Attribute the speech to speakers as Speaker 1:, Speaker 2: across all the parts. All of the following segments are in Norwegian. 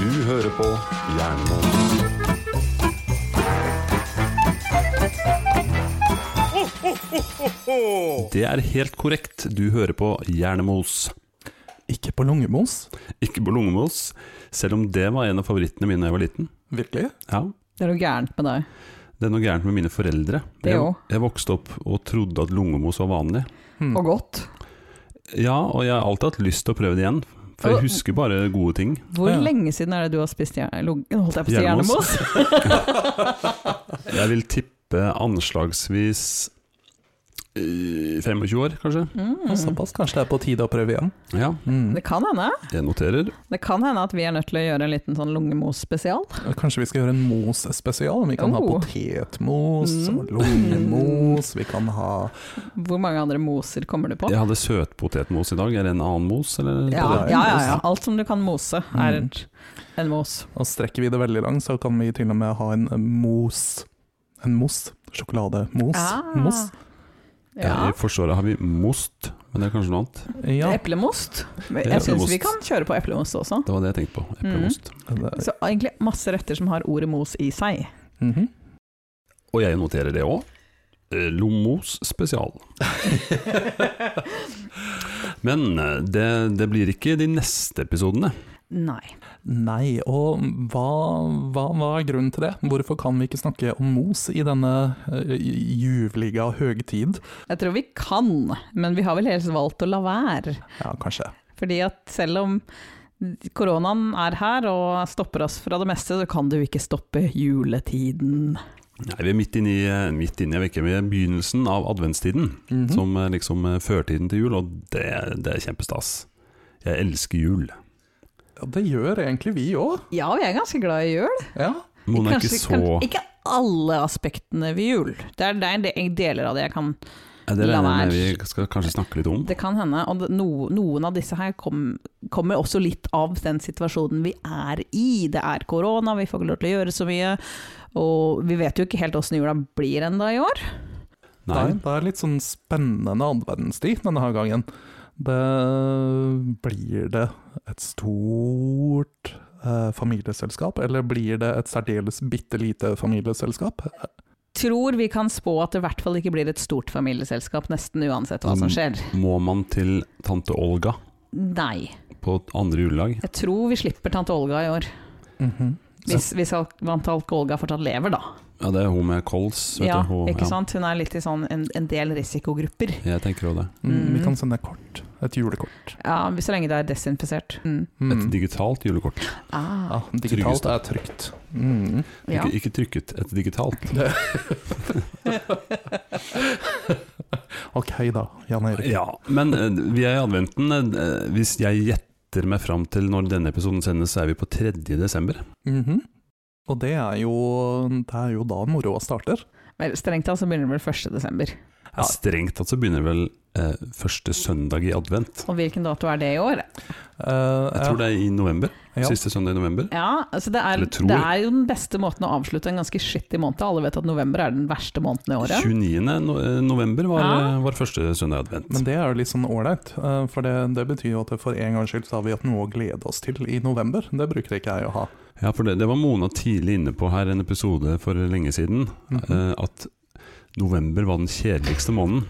Speaker 1: Du hører på Jernbanen.
Speaker 2: Det er helt korrekt. Du hører på Jernemos.
Speaker 3: Ikke på Lungemos.
Speaker 2: Ikke på Lungemos, selv om det var en av favorittene mine da jeg var liten.
Speaker 3: Virkelig?
Speaker 2: Ja,
Speaker 4: Det er noe gærent med deg.
Speaker 2: Det er noe gærent med mine foreldre.
Speaker 4: Det
Speaker 2: jeg,
Speaker 4: også.
Speaker 2: jeg vokste opp og trodde at lungemos var vanlig.
Speaker 3: Mm.
Speaker 4: Og godt.
Speaker 2: Ja, og jeg har alltid hatt lyst til å prøve det igjen. For
Speaker 4: Og-
Speaker 2: jeg husker bare gode ting.
Speaker 4: Hvor
Speaker 3: Ja.
Speaker 4: lenge siden er det du har spist jern... lung- Holdt jeg på å si
Speaker 2: Jernemos.
Speaker 4: jernemos?
Speaker 2: Jeg vil tippe anslagsvis eh, 25 år, kanskje.
Speaker 4: Mm.
Speaker 3: Og Såpass. Kanskje det er på tide å prøve igjen.
Speaker 2: Ja,
Speaker 3: Mm.
Speaker 4: Det kan hende.
Speaker 2: jeg noterer.
Speaker 4: Det kan hende at vi er nødt til å gjøre en liten sånn lungemos-spesial.
Speaker 3: Kanskje vi skal gjøre en mos-spesial? Om vi kan ha
Speaker 4: Oh.
Speaker 3: potetmos
Speaker 4: Mm.
Speaker 3: og lungemos, vi kan ha
Speaker 4: Hvor mange andre moser kommer du på?
Speaker 2: Jeg hadde søtpotetmos i dag. Er det en annen mos? Eller?
Speaker 3: det
Speaker 4: Ja,
Speaker 3: er en
Speaker 4: ja, ja, ja.
Speaker 3: mos. Mm.
Speaker 4: Alt som du kan mose, er en mos.
Speaker 3: Og strekker vi det veldig langt, så kan vi til og med ha en mos. En mos. Sjokolademos.
Speaker 4: Ah.
Speaker 3: Mos.
Speaker 4: Ja.
Speaker 2: I Forsvaret har vi most, men det er kanskje noe annet.
Speaker 3: Ja,
Speaker 4: Eplemost. Jeg
Speaker 2: Eplemost.
Speaker 4: syns vi kan kjøre på eplemost også.
Speaker 2: Det var det jeg tenkte på. Eplemost.
Speaker 3: det-
Speaker 4: Så egentlig masse retter som har ordet mos i seg.
Speaker 3: Mhm.
Speaker 2: Og jeg noterer det òg. Lomos spesial. Men eh, det, det blir ikke de neste episodene.
Speaker 4: Nei.
Speaker 3: Nei, og hva, hva, hva er grunnen til det? Hvorfor kan vi ikke snakke om mos i denne uh, juvliga høgtid?
Speaker 4: Jeg tror vi kan, men vi har vel helst valgt å la være.
Speaker 3: Ja, kanskje.
Speaker 4: Fordi at selv om koronaen er her og stopper oss fra det meste, så kan du ikke stoppe juletiden.
Speaker 2: Nei, vi er midt inne i, eh, midt inne, jeg vet ikke, vi er begynnelsen av adventstiden,
Speaker 4: Mm.
Speaker 3: Mhm.
Speaker 2: som er liksom eh, førtiden til jul, og det, det er kjempestas. Jeg elsker jul.
Speaker 3: Ja, det gjør egentlig vi òg.
Speaker 4: Ja, og jeg er ganske glad i jul.
Speaker 3: Ja.
Speaker 2: Mona er
Speaker 4: Kanskje-
Speaker 2: ikke så
Speaker 4: kan- ikke alle aspektene ved jul. Det er, det er en del- deler av det jeg kan
Speaker 2: Nei, Det
Speaker 4: la
Speaker 2: regner jeg
Speaker 4: være.
Speaker 2: med vi skal kanskje snakke litt om.
Speaker 4: Det kan hende. Og det- no, noen av disse her kom, kommer også litt av den situasjonen vi er i. Det er korona, vi får ikke lov til å gjøre så mye. Og vi vet jo ikke helt åssen jula blir ennå i år.
Speaker 3: Nei.
Speaker 2: Nei,
Speaker 3: Det er litt sånn spennende adventstid denne her gangen. Det blir det et stort eh, familieselskap, eller blir det et særdeles bitte lite familieselskap?
Speaker 4: Tror vi kan spå at det i hvert fall ikke blir et stort familieselskap, nesten uansett hva som
Speaker 2: Mm.
Speaker 4: skjer.
Speaker 2: må man til tante Olga
Speaker 4: Nei.
Speaker 2: på andre juledag?
Speaker 4: Jeg tror vi slipper tante Olga i år.
Speaker 3: Mhm.
Speaker 4: Hvis, hvis al- tante Olga fortsatt lever, da.
Speaker 2: Ja, det er hun med kols, vet
Speaker 4: Ja,
Speaker 2: du. Hun,
Speaker 4: ikke sant? Hun er litt i sånn en, en del risikogrupper.
Speaker 2: Jeg tenker også det.
Speaker 3: Mm, vi
Speaker 4: Mhm.
Speaker 3: kan sende kort. Et julekort.
Speaker 4: Ja, Så lenge det er desinfisert. Mm.
Speaker 2: Et
Speaker 3: Mm.
Speaker 2: digitalt julekort.
Speaker 4: Ah,
Speaker 3: Ja, digitalt er trygt. Mm.
Speaker 4: ja.
Speaker 2: Ikke, ikke trykket, et digitalt.
Speaker 3: Ok da, Jan Erik.
Speaker 2: Ja, men eh, vi er i adventen. Eh, Hvis jeg gjetter meg fram til når denne episoden sendes, så er vi på 3. desember.
Speaker 3: Mhm. Og det er, jo, det er jo da moroa starter.
Speaker 4: Vel, strengt tatt så begynner det vel 1. desember.
Speaker 2: Ja, Strengt tatt så begynner vel eh, første søndag i advent.
Speaker 4: Og hvilken dato er det i år?
Speaker 3: Eh,
Speaker 2: Jeg tror det er i november. Siste søndag i november.
Speaker 4: Ja, altså det, er,
Speaker 2: Eller tror.
Speaker 4: det er jo den beste måten å avslutte en ganske skittig måned. Alle vet at november er den verste måneden i året.
Speaker 2: 29. no- eh, november var,
Speaker 4: Ja.
Speaker 2: eh, var første søndag i advent.
Speaker 3: Men det er jo litt sånn ålreit, eh, for det, det betyr jo at det for en gangs skyld så har vi hatt noe å glede oss til i november. Det bruker ikke jeg å ha.
Speaker 2: Ja, for det, det var Mona tidlig inne på her, en episode for lenge siden,
Speaker 3: Mhm.
Speaker 2: eh, at november var den kjedeligste måneden.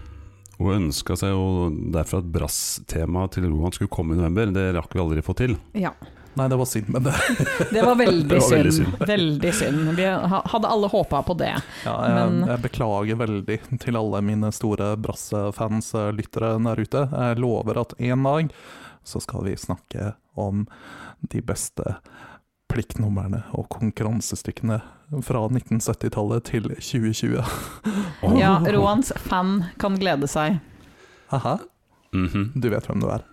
Speaker 2: Og ønska seg jo derfor at brass-temaet til Rohan skulle komme i november. Det rakk vi aldri få til.
Speaker 4: Ja,
Speaker 3: Nei, det var synd med det.
Speaker 4: Det var veldig,
Speaker 2: Det var veldig
Speaker 4: synd. Veldig synd. Vi ha- hadde alle håpa på det.
Speaker 3: Ja, jeg,
Speaker 4: Men-
Speaker 3: jeg beklager veldig til alle mine store Brasse-fans-lyttere der ute. Jeg lover at en dag så skal vi snakke om de beste pliktnumrene og konkurransestykkene fra 1970-tallet til 2020.
Speaker 2: Åh.
Speaker 4: Ja, Roans fan kan glede seg.
Speaker 3: Haha,
Speaker 2: Mhm.
Speaker 3: du vet hvem du er.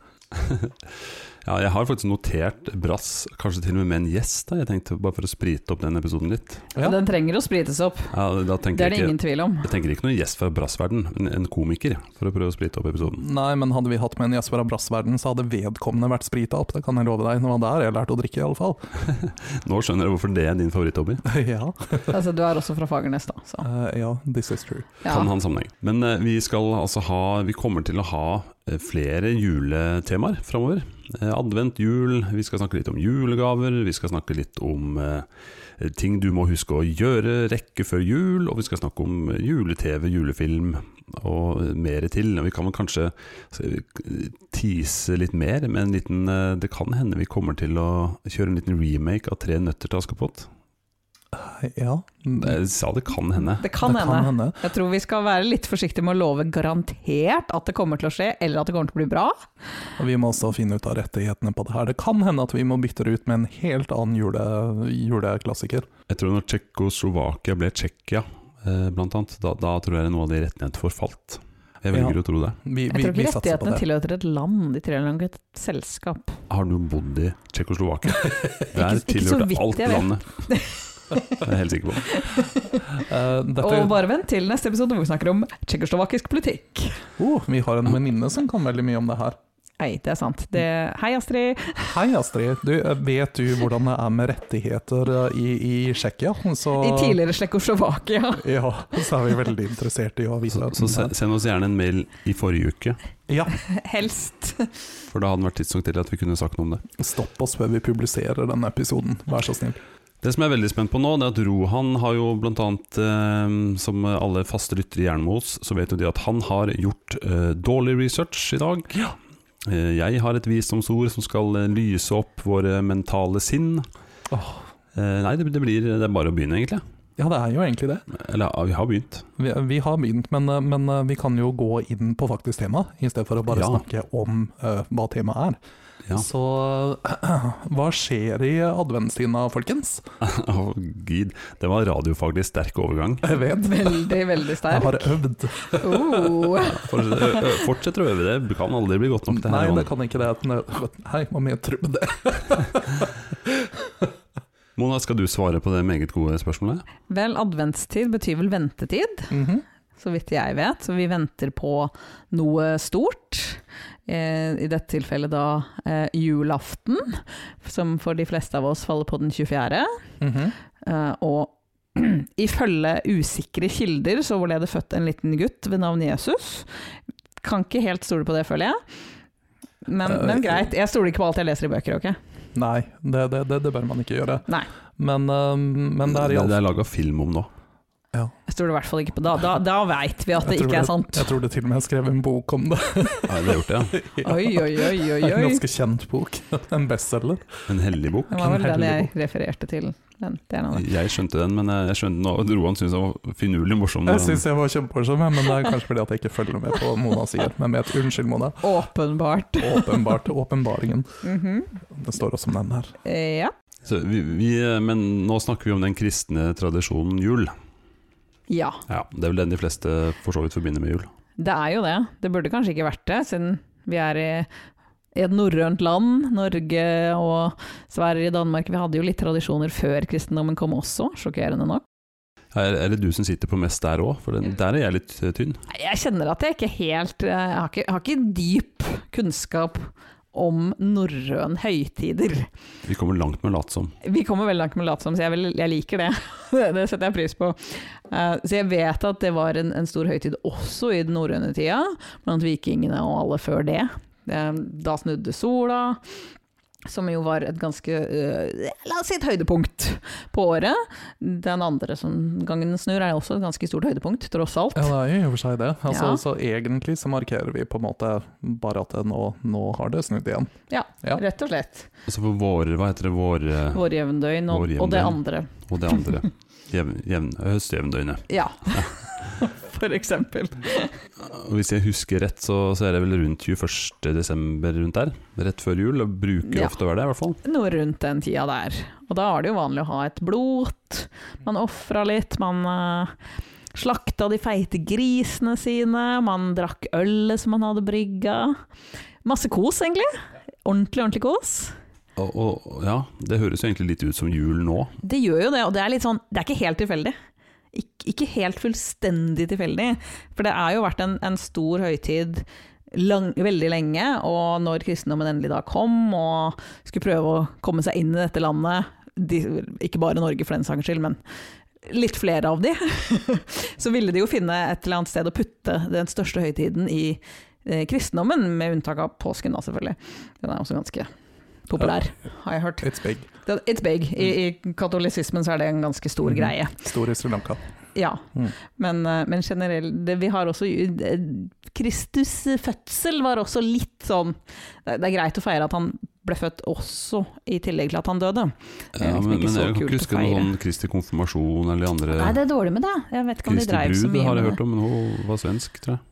Speaker 2: Ja, jeg har faktisk notert brass, kanskje til og med med en gjest. Da. Jeg tenkte bare for å sprite opp den episoden litt.
Speaker 3: Ja.
Speaker 4: Den trenger å sprites opp,
Speaker 2: Ja, da tenker
Speaker 4: det er det
Speaker 2: jeg,
Speaker 4: ingen
Speaker 2: ikke,
Speaker 4: tvil om.
Speaker 2: jeg tenker ikke noen gjest fra brassverden, men en komiker, for å prøve å sprite opp episoden.
Speaker 3: Nei, men hadde vi hatt med en gjest fra brassverden, så hadde vedkommende vært sprita opp. Det kan jeg love deg. Det var der jeg lærte å drikke, iallfall.
Speaker 2: Nå skjønner jeg hvorfor det er din favoritthobby.
Speaker 3: ja.
Speaker 4: Altså, du er også fra Fagernes, da. Så.
Speaker 3: Eh, ja, this is true.
Speaker 4: Ja.
Speaker 2: Kan ha en sammenheng. Men eh, vi skal altså ha Vi kommer til å ha eh, flere juletemaer framover. Eh, advent, jul, vi skal snakke litt om julegaver, vi skal snakke litt om eh, ting du må huske å gjøre, rekke før jul, og vi skal snakke om eh, jule-TV, julefilm og eh, mer til. Og vi kan vel kanskje eh, tease litt mer, men en liten, eh, det kan hende vi kommer til å kjøre en liten remake av Tre nøtter til Askepott.
Speaker 3: Eh, Ja,
Speaker 2: Jeg sa det kan hende.
Speaker 4: Det kan
Speaker 3: det
Speaker 4: hende. Jeg tror vi skal være litt forsiktige med å love garantert at det kommer til å skje, eller at det kommer til å bli bra.
Speaker 3: Og Vi må også finne ut av rettighetene på det her. Det kan hende at vi må bytte det ut med en helt annen jule, juleklassiker.
Speaker 2: Jeg tror når Tsjekkoslovakia ble Tsjekkia, eh, blant annet, da, da tror jeg noe av de rettighetene forfalt. Jeg velger
Speaker 3: Ja.
Speaker 2: å tro det.
Speaker 3: Vi,
Speaker 4: Jeg
Speaker 3: vi,
Speaker 4: tror
Speaker 3: vi
Speaker 4: ikke
Speaker 3: satser på
Speaker 4: rettighetene
Speaker 3: det.
Speaker 4: tilhører et land, de tilhører et selskap.
Speaker 2: Har du bodd i Tsjekkoslovakia? Der
Speaker 4: ikke så
Speaker 2: tilhørte
Speaker 4: vidt
Speaker 2: alt
Speaker 4: jeg vet.
Speaker 2: landet. Det er jeg helt sikker på.
Speaker 3: Eh, dette,
Speaker 4: Og bare vent til neste episode hvor vi snakker om tsjekkoslovakisk politikk.
Speaker 3: oh, vi har en venninne som kan veldig mye om det her.
Speaker 4: Nei, det er sant. Det, hei, Astrid.
Speaker 3: Hei Astrid, du, eh, vet du hvordan det er med rettigheter eh, i, i Tsjekkia? Så-
Speaker 4: I tidligere Tsjekkoslovakia.
Speaker 3: Ja, så er vi veldig interessert i å vite
Speaker 2: Så, så se- send oss gjerne en mail i forrige uke,
Speaker 3: Ja,
Speaker 4: Helst.
Speaker 2: for da hadde den vært tidsnok til at vi kunne sagt noe om det.
Speaker 3: stopp oss før vi publiserer denne episoden, vær så snill.
Speaker 2: Det som jeg er veldig spent på nå, det er at Rohan har jo blant annet, eh, som alle faste lyttere i Jernmos, så vet jo de at han har gjort eh, dårlig research i dag. Eh, jeg har et visdomsord som skal eh, lyse opp våre mentale sinn.
Speaker 3: Åh.
Speaker 2: Eh, nei, det, det blir det er bare å begynne, egentlig.
Speaker 3: Ja, det er jo egentlig det.
Speaker 2: Eller ja, vi har begynt.
Speaker 3: Vi, vi har begynt, men, eh, men eh, vi kan jo gå inn på faktisk tema, i stedet for å bare
Speaker 2: Ja.
Speaker 3: snakke om eh, hva temaet er.
Speaker 2: Ja.
Speaker 3: Så hva skjer i adventstida, folkens?
Speaker 2: Å, gid. Det var radiofaglig sterk overgang.
Speaker 3: Jeg vet.
Speaker 4: Veldig, veldig
Speaker 3: Jeg
Speaker 4: sterk.
Speaker 3: har øvd.
Speaker 4: Oh.
Speaker 2: Forts- ø- ø- Fortsett eh, å øve det, det kan aldri bli godt nok. Det
Speaker 3: Nei,
Speaker 2: her,
Speaker 3: det kan ikke det. Hei, hva mener du med det?
Speaker 2: Mona, skal du svare på det meget gode spørsmålet?
Speaker 4: Vel, adventstid betyr vel ventetid,
Speaker 3: Mhm.
Speaker 4: så vidt jeg vet. Så vi venter på noe stort. Eh, I dette tilfellet da eh, julaften, som for de fleste av oss faller på den 24.
Speaker 3: Mhm.
Speaker 4: Eh, og ifølge usikre kilder så ble det født en liten gutt ved navn Jesus. Kan ikke helt stole på det, føler jeg. Men,
Speaker 3: Eh,
Speaker 4: men greit, jeg stoler ikke på alt jeg leser i bøker, ok?
Speaker 3: Nei, det, det, det, det bør man ikke gjøre.
Speaker 4: Nei.
Speaker 3: Men, eh, men det er
Speaker 2: det,
Speaker 3: iallfall
Speaker 2: det er laga film om nå.
Speaker 4: Jeg stoler i hvert fall ikke på Da, da, da veit vi at
Speaker 3: Jeg
Speaker 4: det
Speaker 3: tror
Speaker 4: ikke er sant.
Speaker 3: Jeg tror det til og med jeg skrev en bok om det.
Speaker 2: Ja, det har gjort det, ja.
Speaker 4: Oi, oi, oi, oi,
Speaker 3: En
Speaker 4: oi.
Speaker 3: ganske kjent bok. En bestselger.
Speaker 2: En hellig bok.
Speaker 4: Det var vel den jeg
Speaker 3: knallgod.
Speaker 4: refererte til. Den, det er en annen.
Speaker 2: Jeg skjønte den, men jeg skjønte nå at Roan syntes den var finurlig morsom. når
Speaker 3: Jeg
Speaker 2: han-
Speaker 3: syns jeg var kjempemorsom, jeg, men det er kanskje fordi at jeg ikke følger med på hva Mona sier. Men jeg vet, unnskyld, Mona.
Speaker 4: Åpenbart.
Speaker 3: Åpenbart. Åpenbaringen.
Speaker 4: Mhm.
Speaker 3: Det står også om den her.
Speaker 4: Eh, ja.
Speaker 2: så vi, vi, men nå snakker vi om den kristne tradisjonen jul.
Speaker 4: ja,
Speaker 2: Ja, Det er vel den de fleste for så vidt forbinder med jul.
Speaker 4: det er jo det. Det burde kanskje ikke vært det, siden vi er i i et norrønt land, Norge og Sverige, Danmark Vi hadde jo litt tradisjoner før kristendommen kom også, sjokkerende nok.
Speaker 2: Er, er det du som sitter på mest der òg? For den, der er jeg litt eh, tynn.
Speaker 4: Nei, Jeg kjenner at jeg ikke helt eh, Jeg har ikke, jeg har ikke dyp kunnskap om norrøn høytider.
Speaker 2: Vi kommer langt med å late som.
Speaker 4: Vi kommer veldig langt med å late som, så jeg, vil, jeg liker det. det setter jeg pris på. Eh, så jeg vet at det var en, en stor høytid også i den norrøne tida, blant vikingene og alle før det. Eh, da snudde sola, som jo var et ganske eh, La oss si et høydepunkt på året. Den andre som gangen den snur, er også et ganske stort høydepunkt, tross alt.
Speaker 3: Ja, det er jo i og for seg det. Altså,
Speaker 4: Ja.
Speaker 3: Så egentlig så markerer vi på en måte bare at det nå, nå har det snudd igjen.
Speaker 4: Ja,
Speaker 3: Ja.
Speaker 4: rett og slett.
Speaker 2: Altså for våre, hva heter det, våre
Speaker 4: Vårjevndøgn og,
Speaker 2: Vårjevndøgn.
Speaker 4: og det andre.
Speaker 2: og det andre. Jevn, jevn, høstjevndøgnet.
Speaker 4: Ja, for eksempel.
Speaker 2: Og Hvis jeg husker rett, så, så er det vel rundt 21. desember rundt der. Rett før jul. og Bruker
Speaker 4: Ja.
Speaker 2: ofte å være det, i hvert fall.
Speaker 4: Noe rundt den tida der. Og da er det jo vanlig å ha et blot. Man ofra litt, man eh, slakta de feite grisene sine, man drakk ølet som man hadde brygga. Masse kos, egentlig. Ordentlig, ordentlig kos.
Speaker 2: Og, og ja, det høres jo egentlig litt ut som jul nå.
Speaker 4: Det gjør jo det, og det er litt sånn Det er ikke helt tilfeldig. Ik ikke helt fullstendig tilfeldig. For det har jo vært en, en stor høytid lang, veldig lenge, og når kristendommen endelig da kom og skulle prøve å komme seg inn i dette landet, de, ikke bare Norge for den saks skyld, men litt flere av de, så ville de jo finne et eller annet sted å putte den største høytiden i eh, kristendommen, med unntak av påsken da, selvfølgelig. Den er også ganske populær, har jeg hørt.
Speaker 3: It's big.
Speaker 4: Det- It's big. I, I katolisismen så er det en ganske stor
Speaker 3: Mhm.
Speaker 4: greie.
Speaker 3: Stor i Sri Lanka.
Speaker 4: Ja.
Speaker 3: Mm.
Speaker 4: Men, eh, men generelt det, Vi har også eh, Kristus eh, fødsel var også litt sånn Det det er greit å feire at han ble født også, i tillegg til at han døde. Det er
Speaker 2: Ja,
Speaker 4: liksom
Speaker 2: men,
Speaker 4: ikke
Speaker 2: men
Speaker 4: så
Speaker 2: jeg kan
Speaker 4: kult å
Speaker 2: ikke huske
Speaker 4: feire.
Speaker 2: noe sånn Kristi konfirmasjon eller de andre
Speaker 4: Nei, det er dårlig med det. Jeg vet ikke om de
Speaker 2: Kristi
Speaker 4: dreiv så
Speaker 2: brud
Speaker 4: mye
Speaker 2: har
Speaker 4: med
Speaker 2: jeg
Speaker 4: det.
Speaker 2: hørt om, men hun var svensk, tror jeg.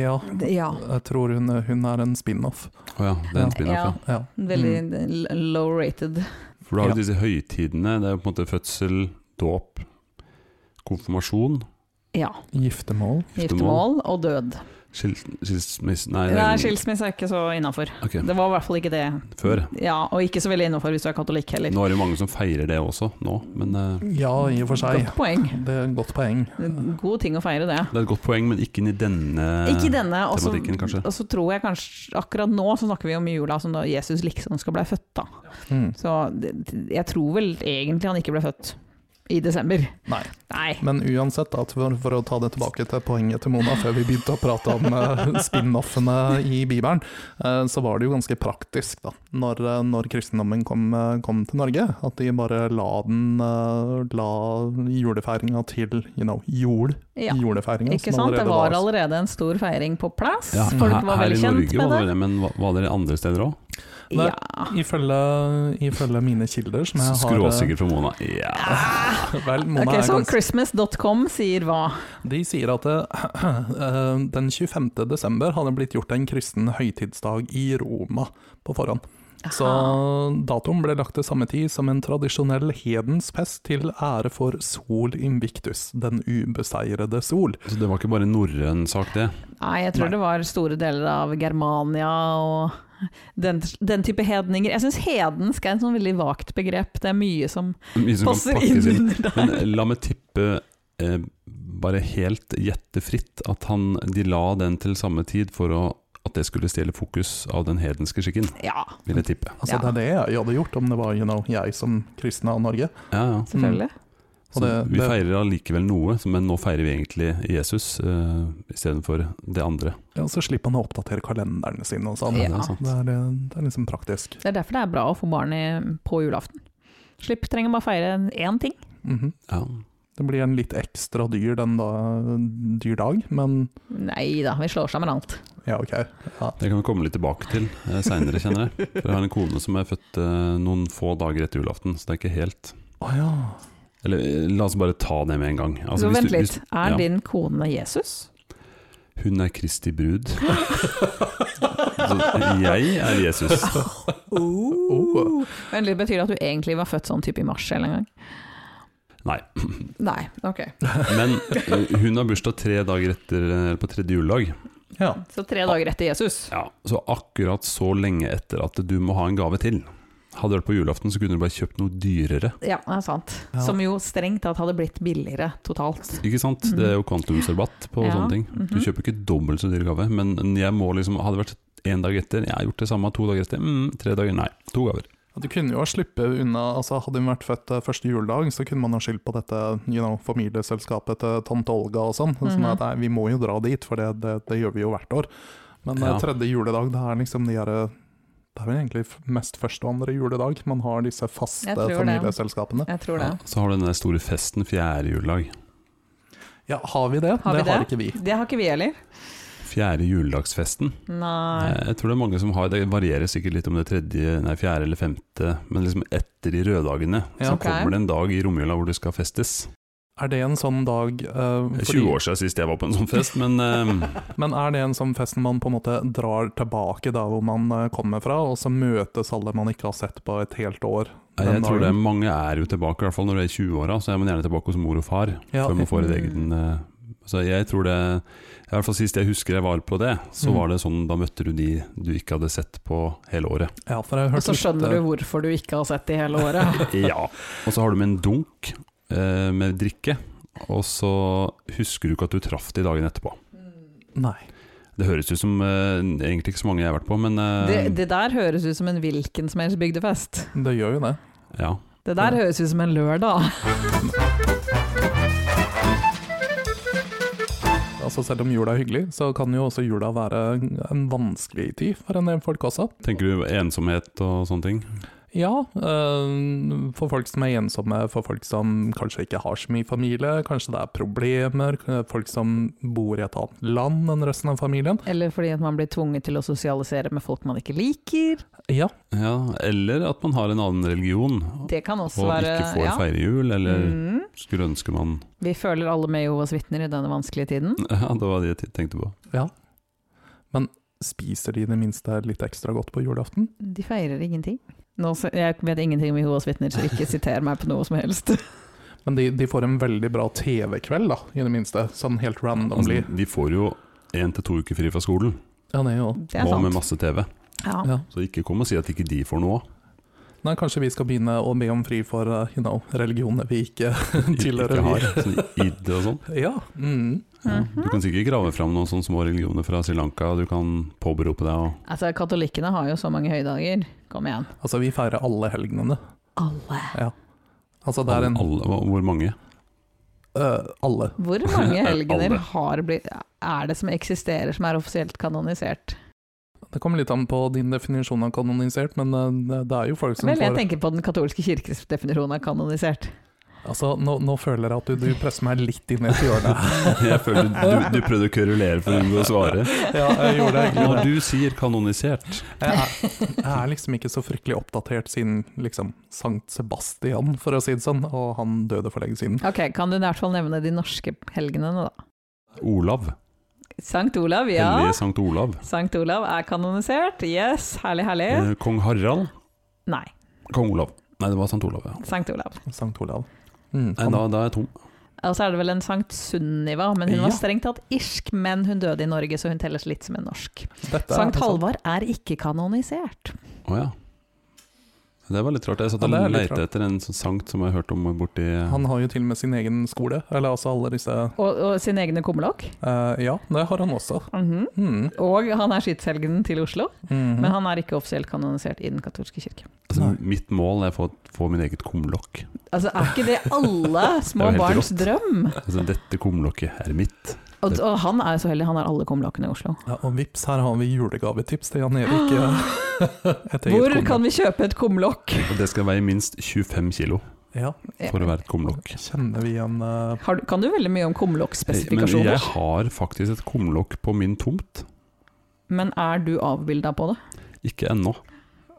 Speaker 3: Ja,
Speaker 4: Det- Ja.
Speaker 3: jeg tror hun, hun er en spin-off.
Speaker 2: Å ja, det er en
Speaker 3: Ja.
Speaker 2: spin-off, ja. Mm.
Speaker 3: Ja.
Speaker 4: Veldig l- low rated.
Speaker 2: For du har jo
Speaker 3: Ja.
Speaker 2: disse høytidene. Det er jo på en måte fødsel, dåp, konfirmasjon,
Speaker 4: Ja.
Speaker 3: Mm. Giftermål.
Speaker 2: Giftermål.
Speaker 4: Giftermål og død.
Speaker 2: skil, skilsmisse Nei,
Speaker 4: Nei,
Speaker 2: det er
Speaker 4: skilsmisse er ikke så innafor.
Speaker 2: Ok,
Speaker 4: Det var i hvert fall ikke det.
Speaker 2: før.
Speaker 4: Ja, Og ikke så veldig innafor hvis du er katolikk heller.
Speaker 2: Nå er det jo mange som feirer det også, nå. Men eh,
Speaker 3: Ja, i og for seg.
Speaker 4: Godt poeng.
Speaker 3: Det er et godt poeng.
Speaker 4: God ting å feire, det.
Speaker 2: det er et godt poeng, men ikke inn i denne
Speaker 4: Ikke i denne, altså- og så-
Speaker 2: Eh, tematikken, kanskje.
Speaker 4: og så tror jeg kanskje Akkurat nå så snakker vi om jula som da Jesus liksom skal bli født, da.
Speaker 3: Mm.
Speaker 4: Så det, jeg tror vel egentlig han ikke ble født i desember.
Speaker 3: Nei.
Speaker 4: Nei.
Speaker 3: Men uansett, da, for, for å ta det tilbake til poenget til Mona før vi begynte å prate om eh, spin-offene i Bibelen, eh, så var det jo ganske praktisk da, når, eh, når kristendommen kom, eh, kom til Norge, at de bare la, den, eh, la julefeiringa til you know, jord.
Speaker 4: Ja.
Speaker 3: Julefeiringa.
Speaker 4: Ikke sant? Det var allerede en stor feiring på plass.
Speaker 2: Ja,
Speaker 4: Folk
Speaker 2: her-
Speaker 4: var
Speaker 2: her
Speaker 4: vel
Speaker 2: i
Speaker 4: kjent
Speaker 2: Norge
Speaker 4: med
Speaker 2: var
Speaker 4: det.
Speaker 2: det, men var- var dere andre steder òg?
Speaker 3: Nei.
Speaker 4: Ja.
Speaker 3: Ifølge, ifølge mine kilder, som jeg har eh,
Speaker 2: Skråsikker fra Mona. Ja.
Speaker 3: Vel, Mona
Speaker 4: Ok,
Speaker 3: er
Speaker 4: så
Speaker 3: ganske
Speaker 4: Christmas.com sier hva?
Speaker 3: De sier at eh, den 25. desember hadde blitt gjort en kristen høytidsdag i Roma på forhånd. Så datoen ble lagt til samme tid som en tradisjonell hedens fest til ære for Sol Invictus, den ubeseirede sol.
Speaker 2: Så det var ikke bare en norrøn sak, det.
Speaker 4: Nei, jeg tror
Speaker 3: Nei.
Speaker 4: det var store deler av Germania og den, den type hedninger. Jeg syns hedensk er et sånn veldig vagt begrep. Det er mye som
Speaker 2: Mye som kan
Speaker 4: passer
Speaker 2: pakkes inn.
Speaker 4: inn der.
Speaker 2: Men eh, la meg tippe eh, bare helt gjettefritt at han, de la den til samme tid for å, at det skulle stjele fokus av den hedenske skikken,
Speaker 4: Ja,
Speaker 2: vil jeg tippe.
Speaker 3: Altså,
Speaker 4: Ja.
Speaker 3: Det er det jeg hadde gjort om det var you know, jeg som kristen av Norge.
Speaker 2: Ja, ja.
Speaker 4: selvfølgelig.
Speaker 2: Så
Speaker 3: Og det-
Speaker 2: vi
Speaker 3: det-
Speaker 2: feirer allikevel noe, så- men nå feirer vi egentlig Jesus eh, istedenfor det andre.
Speaker 3: Ja, så slipper man å oppdatere kalenderne sine og sånn.
Speaker 4: Ja.
Speaker 2: Det er sant.
Speaker 3: Det, er, eh, det er liksom praktisk.
Speaker 4: Det er derfor det er bra å få barn i, på julaften. Slipp trenger bare feire én ting.
Speaker 3: Mhm.
Speaker 2: Ja.
Speaker 3: Det blir en litt ekstra dyr, den da, dyr dag, men
Speaker 4: Nei da, vi slår sammen alt.
Speaker 3: ja, ok. Ja.
Speaker 2: Det kan vi komme litt tilbake til eh, seinere, kjenner jeg. For jeg har en kone som er født eh, noen få dager etter julaften, så det er ikke helt
Speaker 3: Å ja.
Speaker 2: Eller eh, la oss bare ta det med en gang. Altså,
Speaker 4: så
Speaker 2: hvis
Speaker 4: vent
Speaker 2: du-
Speaker 4: litt, er
Speaker 2: ja.
Speaker 4: din kone Jesus?
Speaker 2: hvis- Hun er Kristi brud. Så Altså, jeg er Jesus.
Speaker 3: Oh.
Speaker 4: Men det betyr at du egentlig var født sånn type i mars eller en gang?
Speaker 2: Nei.
Speaker 4: Nei, ok.
Speaker 2: Men eh, hun har bursdag tre dager etter, eller på tredje juledag.
Speaker 3: Ja.
Speaker 4: Så tre dager etter Jesus.
Speaker 2: Ja, så akkurat så lenge etter at du må ha en gave til. Hadde det vært på julaften, så kunne du bare kjøpt noe dyrere.
Speaker 4: Ja, det er sant.
Speaker 3: Ja.
Speaker 4: Som jo strengt tatt hadde blitt billigere totalt.
Speaker 2: Ikke sant? Det er jo kvantumsrabatt på
Speaker 4: Mhm. Ja,
Speaker 2: sånne ting. Du
Speaker 4: mhm.
Speaker 2: kjøper ikke dobbelt så dyr gave, men jeg må liksom Hadde det vært én dag etter, jeg har gjort det samme to dager etter, mm, tre dager, nei, to gaver.
Speaker 3: Du kunne jo ha sluppet unna altså Hadde hun vært født eh, første juledag, så kunne man ha skyldt på dette you know, familieselskapet til tante Olga og sånn. sånn
Speaker 4: Mhm.
Speaker 3: at, nei, vi må jo dra dit, for det, det, det gjør vi jo hvert år. Men eh,
Speaker 2: Ja.
Speaker 3: tredje juledag, det er liksom de her eh, Det er vel egentlig f- mest første og andre juledag man har disse faste
Speaker 4: Jeg tror det.
Speaker 3: familieselskapene.
Speaker 4: Jeg tror det.
Speaker 2: Ja, så har du den der store festen fjerde juledag.
Speaker 3: Ja, har vi det?
Speaker 4: Har vi
Speaker 3: det har
Speaker 4: det?
Speaker 3: ikke vi.
Speaker 4: Det har ikke vi heller.
Speaker 2: Fjerde juledagsfesten.
Speaker 4: Nei.
Speaker 2: Eh, Jeg tror det er mange som har Det varierer sikkert litt om det er tredje, nei, fjerde eller femte, men liksom etter de røddagene,
Speaker 3: Ja.
Speaker 2: så
Speaker 4: Ok.
Speaker 2: kommer det en dag i romjula hvor det skal festes.
Speaker 3: Er det en sånn dag eh,
Speaker 2: Det er
Speaker 3: fordi-
Speaker 2: 20 år siden sist jeg var på en sånn fest, men eh,
Speaker 3: Men er det en sånn fest man på en måte drar tilbake da hvor man eh, kommer fra, og så møtes alle man ikke har sett på et helt år?
Speaker 2: jeg
Speaker 3: den
Speaker 2: tror det er
Speaker 3: dagen?
Speaker 2: mange er jo tilbake, i hvert fall når du er i 20-åra, så er man gjerne tilbake hos mor og far
Speaker 3: Ja,
Speaker 2: før man får et
Speaker 4: mm.
Speaker 2: egen eh, Så jeg tror det i hvert fall Sist jeg husker jeg var på det, så
Speaker 3: Mm.
Speaker 2: var det sånn da møtte du de du ikke hadde sett på hele året.
Speaker 3: Ja, for jeg har
Speaker 4: Og
Speaker 3: hørt eh,
Speaker 4: så skjønner
Speaker 2: eh,
Speaker 4: du hvorfor du ikke har sett det hele året.
Speaker 2: Ja. Og så har du med en dunk eh, med drikke, og så husker du ikke at du traff de dagen etterpå.
Speaker 3: Nei.
Speaker 2: Det høres ut som eh, egentlig ikke så mange jeg har vært på, men eh,
Speaker 4: Det, det der høres ut som en hvilken som helst bygdefest.
Speaker 3: Det gjør jo det.
Speaker 2: ja.
Speaker 4: Det der høres ut som en lørdag.
Speaker 3: Altså Selv om jula er hyggelig, så kan jo også jula være en vanskelig tid for en del folk også.
Speaker 2: Tenker du ensomhet og sånne ting?
Speaker 3: Ja, eh, for folk som er ensomme, for folk som kanskje ikke har så mye familie, kanskje det er problemer, eh, folk som bor i et annet land enn resten av familien.
Speaker 4: Eller fordi at man blir tvunget til å sosialisere med folk man ikke liker.
Speaker 3: Ja,
Speaker 2: Ja, Eller at man har en annen religion
Speaker 4: Det kan også
Speaker 2: og
Speaker 4: være
Speaker 2: ikke får
Speaker 4: ja.
Speaker 2: feire jul, eller
Speaker 4: Mm.
Speaker 2: skulle ønske man
Speaker 4: Vi føler alle med Jehovas vitner i denne vanskelige tiden.
Speaker 2: Ja, det var det jeg tenkte på.
Speaker 3: spiser de i det minste litt ekstra godt på julaften?
Speaker 4: De feirer ingenting. Nå, se- jeg vet ingenting om Jehovas vitner, så ikke siter meg på noe som helst.
Speaker 3: Men de, de får en veldig bra TV-kveld, da, i det minste. Sånn helt randomly.
Speaker 2: Altså, de får jo én til to uker fri fra skolen,
Speaker 3: Ja, det er jo
Speaker 4: Det er
Speaker 2: og med
Speaker 4: sant.
Speaker 2: masse TV.
Speaker 4: Ja.
Speaker 3: ja.
Speaker 2: Så ikke kom og si at ikke de får noe.
Speaker 3: Nei, kanskje vi skal begynne å be om fri for uh, you know, religioner vi ikke tilhører.
Speaker 2: Ikke
Speaker 3: vi.
Speaker 2: har sånn id og sånn.
Speaker 3: Ja. Mm.
Speaker 2: Ja. Du
Speaker 4: Mhm.
Speaker 2: kan sikkert grave fram noen sånne små religioner fra Sri Lanka du kan påberope deg. Og
Speaker 4: Altså, katolikkene har jo så mange høydager. Kom igjen.
Speaker 3: Altså, vi feirer alle helgenene.
Speaker 4: Alle.
Speaker 3: Altså, det er
Speaker 2: alle,
Speaker 3: en
Speaker 2: alle, hva- hvor mange?
Speaker 3: øh, Alle.
Speaker 4: Hvor mange helgener
Speaker 2: Alle.
Speaker 4: har blitt Er det som eksisterer som er offisielt kanonisert?
Speaker 3: Det kommer litt an på din definisjon av kanonisert, men øh, det- det er jo folk som
Speaker 4: Vel, jeg
Speaker 3: får
Speaker 4: tenker på den katolske kirkes definisjon av kanonisert.
Speaker 3: Altså, nå, nå føler jeg at du, du presser meg litt inn i et hjørne.
Speaker 2: Jeg føler du, du prøvde å kverulere for å unngå å svare.
Speaker 3: Ja, jeg gjorde egentlig
Speaker 2: Når
Speaker 3: det.
Speaker 2: du sier kanonisert
Speaker 3: Jeg er, jeg er liksom ikke så fryktelig oppdatert siden liksom Sankt Sebastian, for å si det sånn, og han døde for lenge siden.
Speaker 4: Ok, kan du i hvert fall nevne de norske helgenene, da?
Speaker 2: Olav,
Speaker 4: Sankt Olav, ja.
Speaker 2: hellige Sankt Olav,
Speaker 4: Sankt Olav er kanonisert. Yes, herlig, herlig.
Speaker 2: eh, kong Harald,
Speaker 4: Nei,
Speaker 2: kong Olav. Nei, det var Sankt Olav, ja.
Speaker 4: Sankt Olav.
Speaker 3: Sankt Olav. Mm,
Speaker 2: Nei, da, da er jeg tom.
Speaker 4: Og så er det vel en Sankt Sunniva, men hun var
Speaker 3: Ja.
Speaker 4: strengt tatt irsk. Men hun døde i Norge, så hun telles litt som en norsk.
Speaker 3: dette er
Speaker 4: Sankt
Speaker 3: altså-
Speaker 4: Halvard er ikke kanonisert.
Speaker 2: Å ja. Det var litt rart. Jeg satt
Speaker 3: Ja,
Speaker 2: og
Speaker 3: det er litt
Speaker 2: lette etter en sånn sankt som jeg hørte om borti
Speaker 3: Han har jo til og med sin egen skole, eller altså alle disse
Speaker 4: Og, og sine egne kumlokk.
Speaker 3: eh, Ja, det har han også.
Speaker 4: Mhm.
Speaker 3: Mm.
Speaker 4: Og han er skytshelgenen til Oslo,
Speaker 2: Mm.
Speaker 3: mhm.
Speaker 4: men han er ikke offisielt kanonisert i den katolske kirke.
Speaker 2: altså,
Speaker 3: Nei.
Speaker 2: Mitt mål er å få, få min eget kumlokk.
Speaker 4: Altså, Er ikke det alle små
Speaker 2: Det er jo helt
Speaker 4: barns drøm?
Speaker 2: Altså, dette kumlokket er mitt.
Speaker 4: Og, og han er så heldig, han har alle kumlokkene i Oslo.
Speaker 3: ja, og vips, her har vi julegavetips til Jan Erik. eh, et eget
Speaker 4: Hvor
Speaker 3: konge.
Speaker 4: kan vi kjøpe et kumlokk?
Speaker 2: Og det skal veie minst 25 kilo
Speaker 3: Ja,
Speaker 2: for å være et kumlokk.
Speaker 3: kjenner vi igjen eh,
Speaker 4: Har du- Kan du veldig mye
Speaker 2: Men
Speaker 4: om kumlokkspesifikasjoner?
Speaker 2: jeg har faktisk et kumlokk på min tomt.
Speaker 4: Men er du avbilda på det?
Speaker 2: Ikke ennå.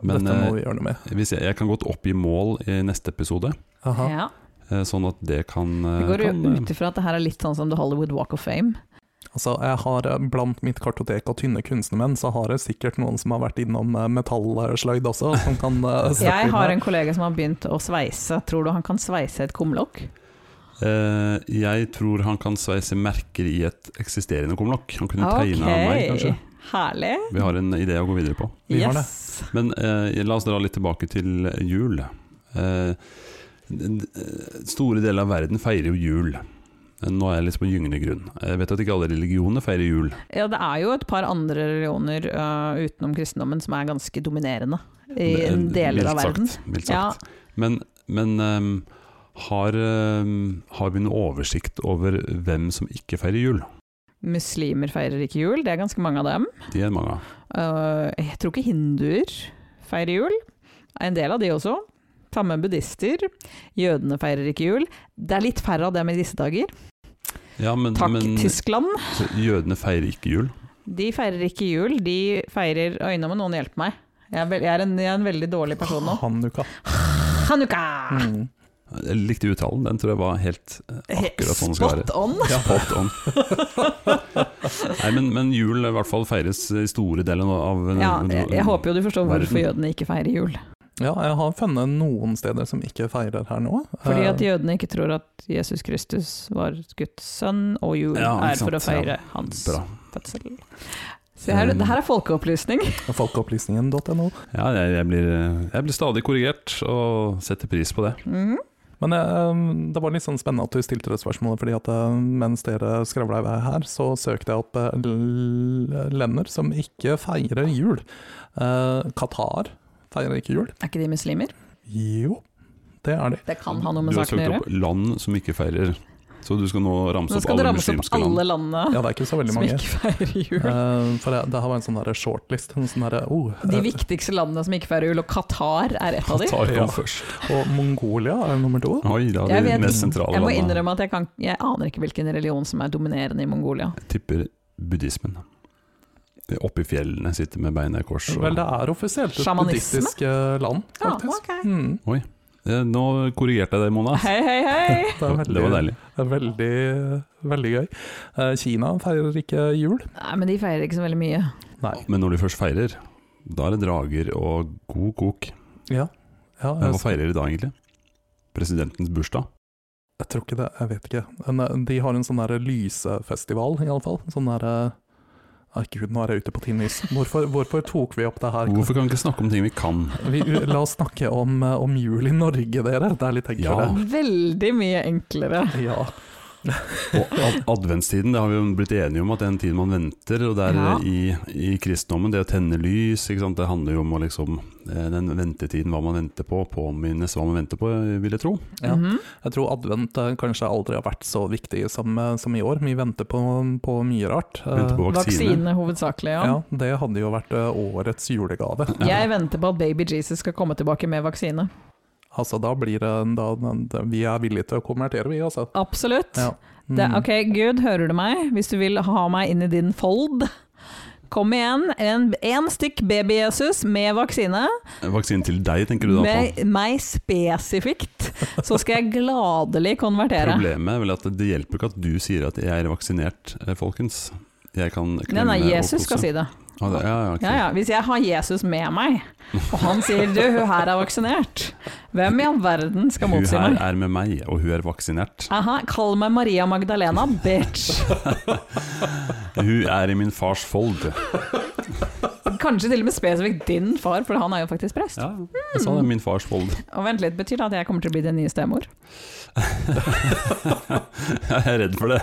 Speaker 2: Men
Speaker 3: Dette må
Speaker 2: eh,
Speaker 3: vi gjøre noe med.
Speaker 2: hvis jeg, jeg kan godt opp i mål i neste episode,
Speaker 3: Aha.
Speaker 4: Ja.
Speaker 2: eh, sånn at det kan eh,
Speaker 4: Det går
Speaker 2: kan,
Speaker 4: jo
Speaker 2: eh,
Speaker 4: ut ifra at det her er litt sånn som The Hollywood Walk of Fame.
Speaker 3: Altså, jeg har eh, Blant mitt kartotek av tynne kunstnermenn, så har jeg sikkert noen som har vært innom eh, metallsløyd også, som kan eh, steppe
Speaker 4: Jeg
Speaker 3: inn
Speaker 4: har
Speaker 3: her.
Speaker 4: en kollega som har begynt å sveise. Tror du han kan sveise et kumlokk?
Speaker 2: Eh, jeg tror han kan sveise merker i et eksisterende kumlokk. Han kunne tegna meg, kanskje.
Speaker 4: Herlig.
Speaker 2: Vi har en idé å gå videre på.
Speaker 3: Vi har
Speaker 4: Yes.
Speaker 2: Men eh, la oss dra litt tilbake til jul. Eh, d- d- store deler av verden feirer jo jul. Eh, Nå er jeg litt på gyngende grunn. Jeg vet at ikke alle religioner feirer jul.
Speaker 4: Ja, det er jo et par andre religioner øh, utenom kristendommen som er ganske dominerende i
Speaker 2: Eh,
Speaker 4: deler
Speaker 2: mildt
Speaker 4: av
Speaker 2: sagt,
Speaker 4: verden.
Speaker 2: Mildt sagt. Men, men ehm, har, ehm, har vi noe oversikt over hvem som ikke feirer jul?
Speaker 4: Muslimer feirer ikke jul, det er ganske mange av dem.
Speaker 2: De er mange av.
Speaker 4: Øh, jeg tror ikke hinduer feirer jul. En del av de også. Samme buddhister. Jødene feirer ikke jul. Det er litt færre av dem i disse dager.
Speaker 2: Ja, men,
Speaker 4: Takk,
Speaker 2: men
Speaker 4: Tyskland.
Speaker 2: så jødene feirer ikke jul.
Speaker 4: De feirer ikke jul, de feirer Oi, nå må noen hjelpe meg. Jeg er, vel- jeg er, en, jeg er en veldig dårlig person nå.
Speaker 3: Hanukka.
Speaker 4: Hanukka!
Speaker 3: Mm.
Speaker 2: Jeg likte uttalen, den tror jeg var helt eh, akkurat sånn det skal være.
Speaker 4: Spot on!
Speaker 2: Spot on. Nei, men, men jul i hvert fall feires i store deler av
Speaker 4: Ja, jeg, jeg håper jo du forstår hvorfor jødene ikke feirer jul.
Speaker 3: Ja, jeg har funnet noen steder som ikke feirer her nå.
Speaker 4: Fordi
Speaker 3: Eh,
Speaker 4: at jødene ikke tror at Jesus Kristus var Guds sønn, og jul
Speaker 2: Ja, ikke
Speaker 4: er for å
Speaker 2: sant, ja.
Speaker 4: feire hans
Speaker 2: Bra. Eh,
Speaker 4: fødsel. Se her, det her er folkeopplysning.
Speaker 3: Folkeopplysningen.no.
Speaker 2: Ja, jeg, jeg, blir, eh, jeg blir stadig korrigert, og setter pris på det.
Speaker 4: Mhm.
Speaker 3: Men eh, det var litt sånn spennende at du stilte det spørsmålet, fordi at eh, mens dere skravla i vei her, så søkte jeg opp eh, l- lander som ikke feirer jul. Eh, Qatar feirer ikke jul.
Speaker 4: Er ikke de muslimer?
Speaker 3: Jo, det er de.
Speaker 4: Det kan ha noe med
Speaker 2: Du har
Speaker 4: saken å
Speaker 2: søkt
Speaker 4: gjøre.
Speaker 2: opp land som ikke feirer, så du skal nå ramse
Speaker 4: Nå
Speaker 2: opp
Speaker 4: skal det
Speaker 2: alle
Speaker 4: rammes opp
Speaker 2: muslimske
Speaker 4: alle
Speaker 2: land.
Speaker 4: landene
Speaker 3: Ja, det er ikke så veldig
Speaker 4: som
Speaker 3: mange.
Speaker 4: ikke feirer jul.
Speaker 3: Eh, for det, det her var en sånn der shortlist. En sånn der, oh,
Speaker 4: De
Speaker 3: eh,
Speaker 4: viktigste landene som ikke feirer jul, og Qatar er et av de.
Speaker 2: Qatar
Speaker 3: Ja.
Speaker 2: kom først.
Speaker 3: og Mongolia er nummer to.
Speaker 2: Oi, da
Speaker 4: Jeg
Speaker 2: er de
Speaker 4: vet-
Speaker 2: mest sentrale
Speaker 4: Jeg må
Speaker 2: landene.
Speaker 4: innrømme at jeg, kan, jeg aner ikke hvilken religion som er dominerende i Mongolia.
Speaker 2: Jeg tipper buddhismen. De Oppe i fjellene, sitter med beina i kors. Og...
Speaker 3: Vel, det er offisielt et
Speaker 4: Sjamanisme?
Speaker 3: buddhistisk eh, land,
Speaker 4: Ja,
Speaker 3: faktisk.
Speaker 4: Ah, ok.
Speaker 3: Mm,
Speaker 2: Eh, Nå korrigerte jeg deg, Mona.
Speaker 4: Hei, hei, hei!
Speaker 3: det, er
Speaker 2: Det
Speaker 3: veldig,
Speaker 2: var deilig.
Speaker 3: det er veldig, veldig gøy. Eh, Kina feirer ikke jul.
Speaker 4: Nei, men de feirer ikke så veldig mye.
Speaker 3: Nei.
Speaker 2: Men når de først feirer, da er det drager og god kok.
Speaker 3: Ja. ja
Speaker 2: Men
Speaker 3: jeg,
Speaker 2: Hva feirer de da, egentlig? Presidentens bursdag?
Speaker 3: jeg tror ikke det, jeg vet ikke. Men eh, de har en sånn der lysefestival, iallfall. Sånn der eh, Nei, gud, nå er jeg ute på tynn is. Hvorfor, hvorfor tok vi opp det her?
Speaker 2: Hvorfor kan vi ikke snakke om ting vi kan?
Speaker 3: Vi, la oss snakke om, eh, om jul i Norge, dere. Det er litt enklere.
Speaker 2: Ja.
Speaker 4: Veldig mye enklere.
Speaker 3: Ja.
Speaker 2: Og ad adventstiden, det har vi jo blitt enige om at det er en tid man venter, og det er eh,
Speaker 4: Ja.
Speaker 2: i, i kristendommen, det å tenne lys, ikke sant? det handler jo om å liksom, eh, den ventetiden, hva man venter på, påminnes hva man venter på, eh, vil jeg tro.
Speaker 3: Ja.
Speaker 4: Mhm.
Speaker 3: Jeg tror advent eh, kanskje aldri har vært så viktig som, eh, som i år. Vi venter på, på mye rart. Eh,
Speaker 2: Venter på vaksine.
Speaker 4: Vaksine hovedsakelig, ja.
Speaker 3: ja, Det hadde jo vært eh, årets julegave.
Speaker 4: Jeg venter på at baby Jesus skal komme tilbake med vaksine.
Speaker 3: Altså, da blir det da, da, Vi er villige til å konvertere, vi, altså.
Speaker 4: Absolutt.
Speaker 3: Ja.
Speaker 4: Det,
Speaker 3: Mm.
Speaker 4: ok, Gud, hører du meg? Hvis du vil ha meg inn i din fold, kom igjen. En, en stykk baby-Jesus med vaksine,
Speaker 2: Vaksine til deg, tenker du da på?
Speaker 4: med meg spesifikt, så skal jeg gladelig konvertere.
Speaker 2: Problemet er vel at det hjelper ikke at du sier at jeg er vaksinert, eh, folkens. Jeg kan
Speaker 4: Nei, nei, Jesus skal si det.
Speaker 2: Ja, det, ja, ja, ok.
Speaker 4: Ja, ja. Hvis jeg har Jesus med meg, og han sier 'du, hun her er vaksinert', hvem i all verden skal
Speaker 2: Hun
Speaker 4: motsi
Speaker 2: her
Speaker 4: meg?
Speaker 2: er med meg, og hun er vaksinert.
Speaker 4: Aha, kall meg Maria Magdalena, bitch!
Speaker 2: Hun er i min fars fold.
Speaker 4: Kanskje til og med spesifikt din far, for han er jo faktisk prest.
Speaker 2: Ja, jeg sa det, min fars fold.
Speaker 4: Og vent litt, betyr det at jeg kommer til å bli din nye stemor?
Speaker 2: Jeg er redd for det.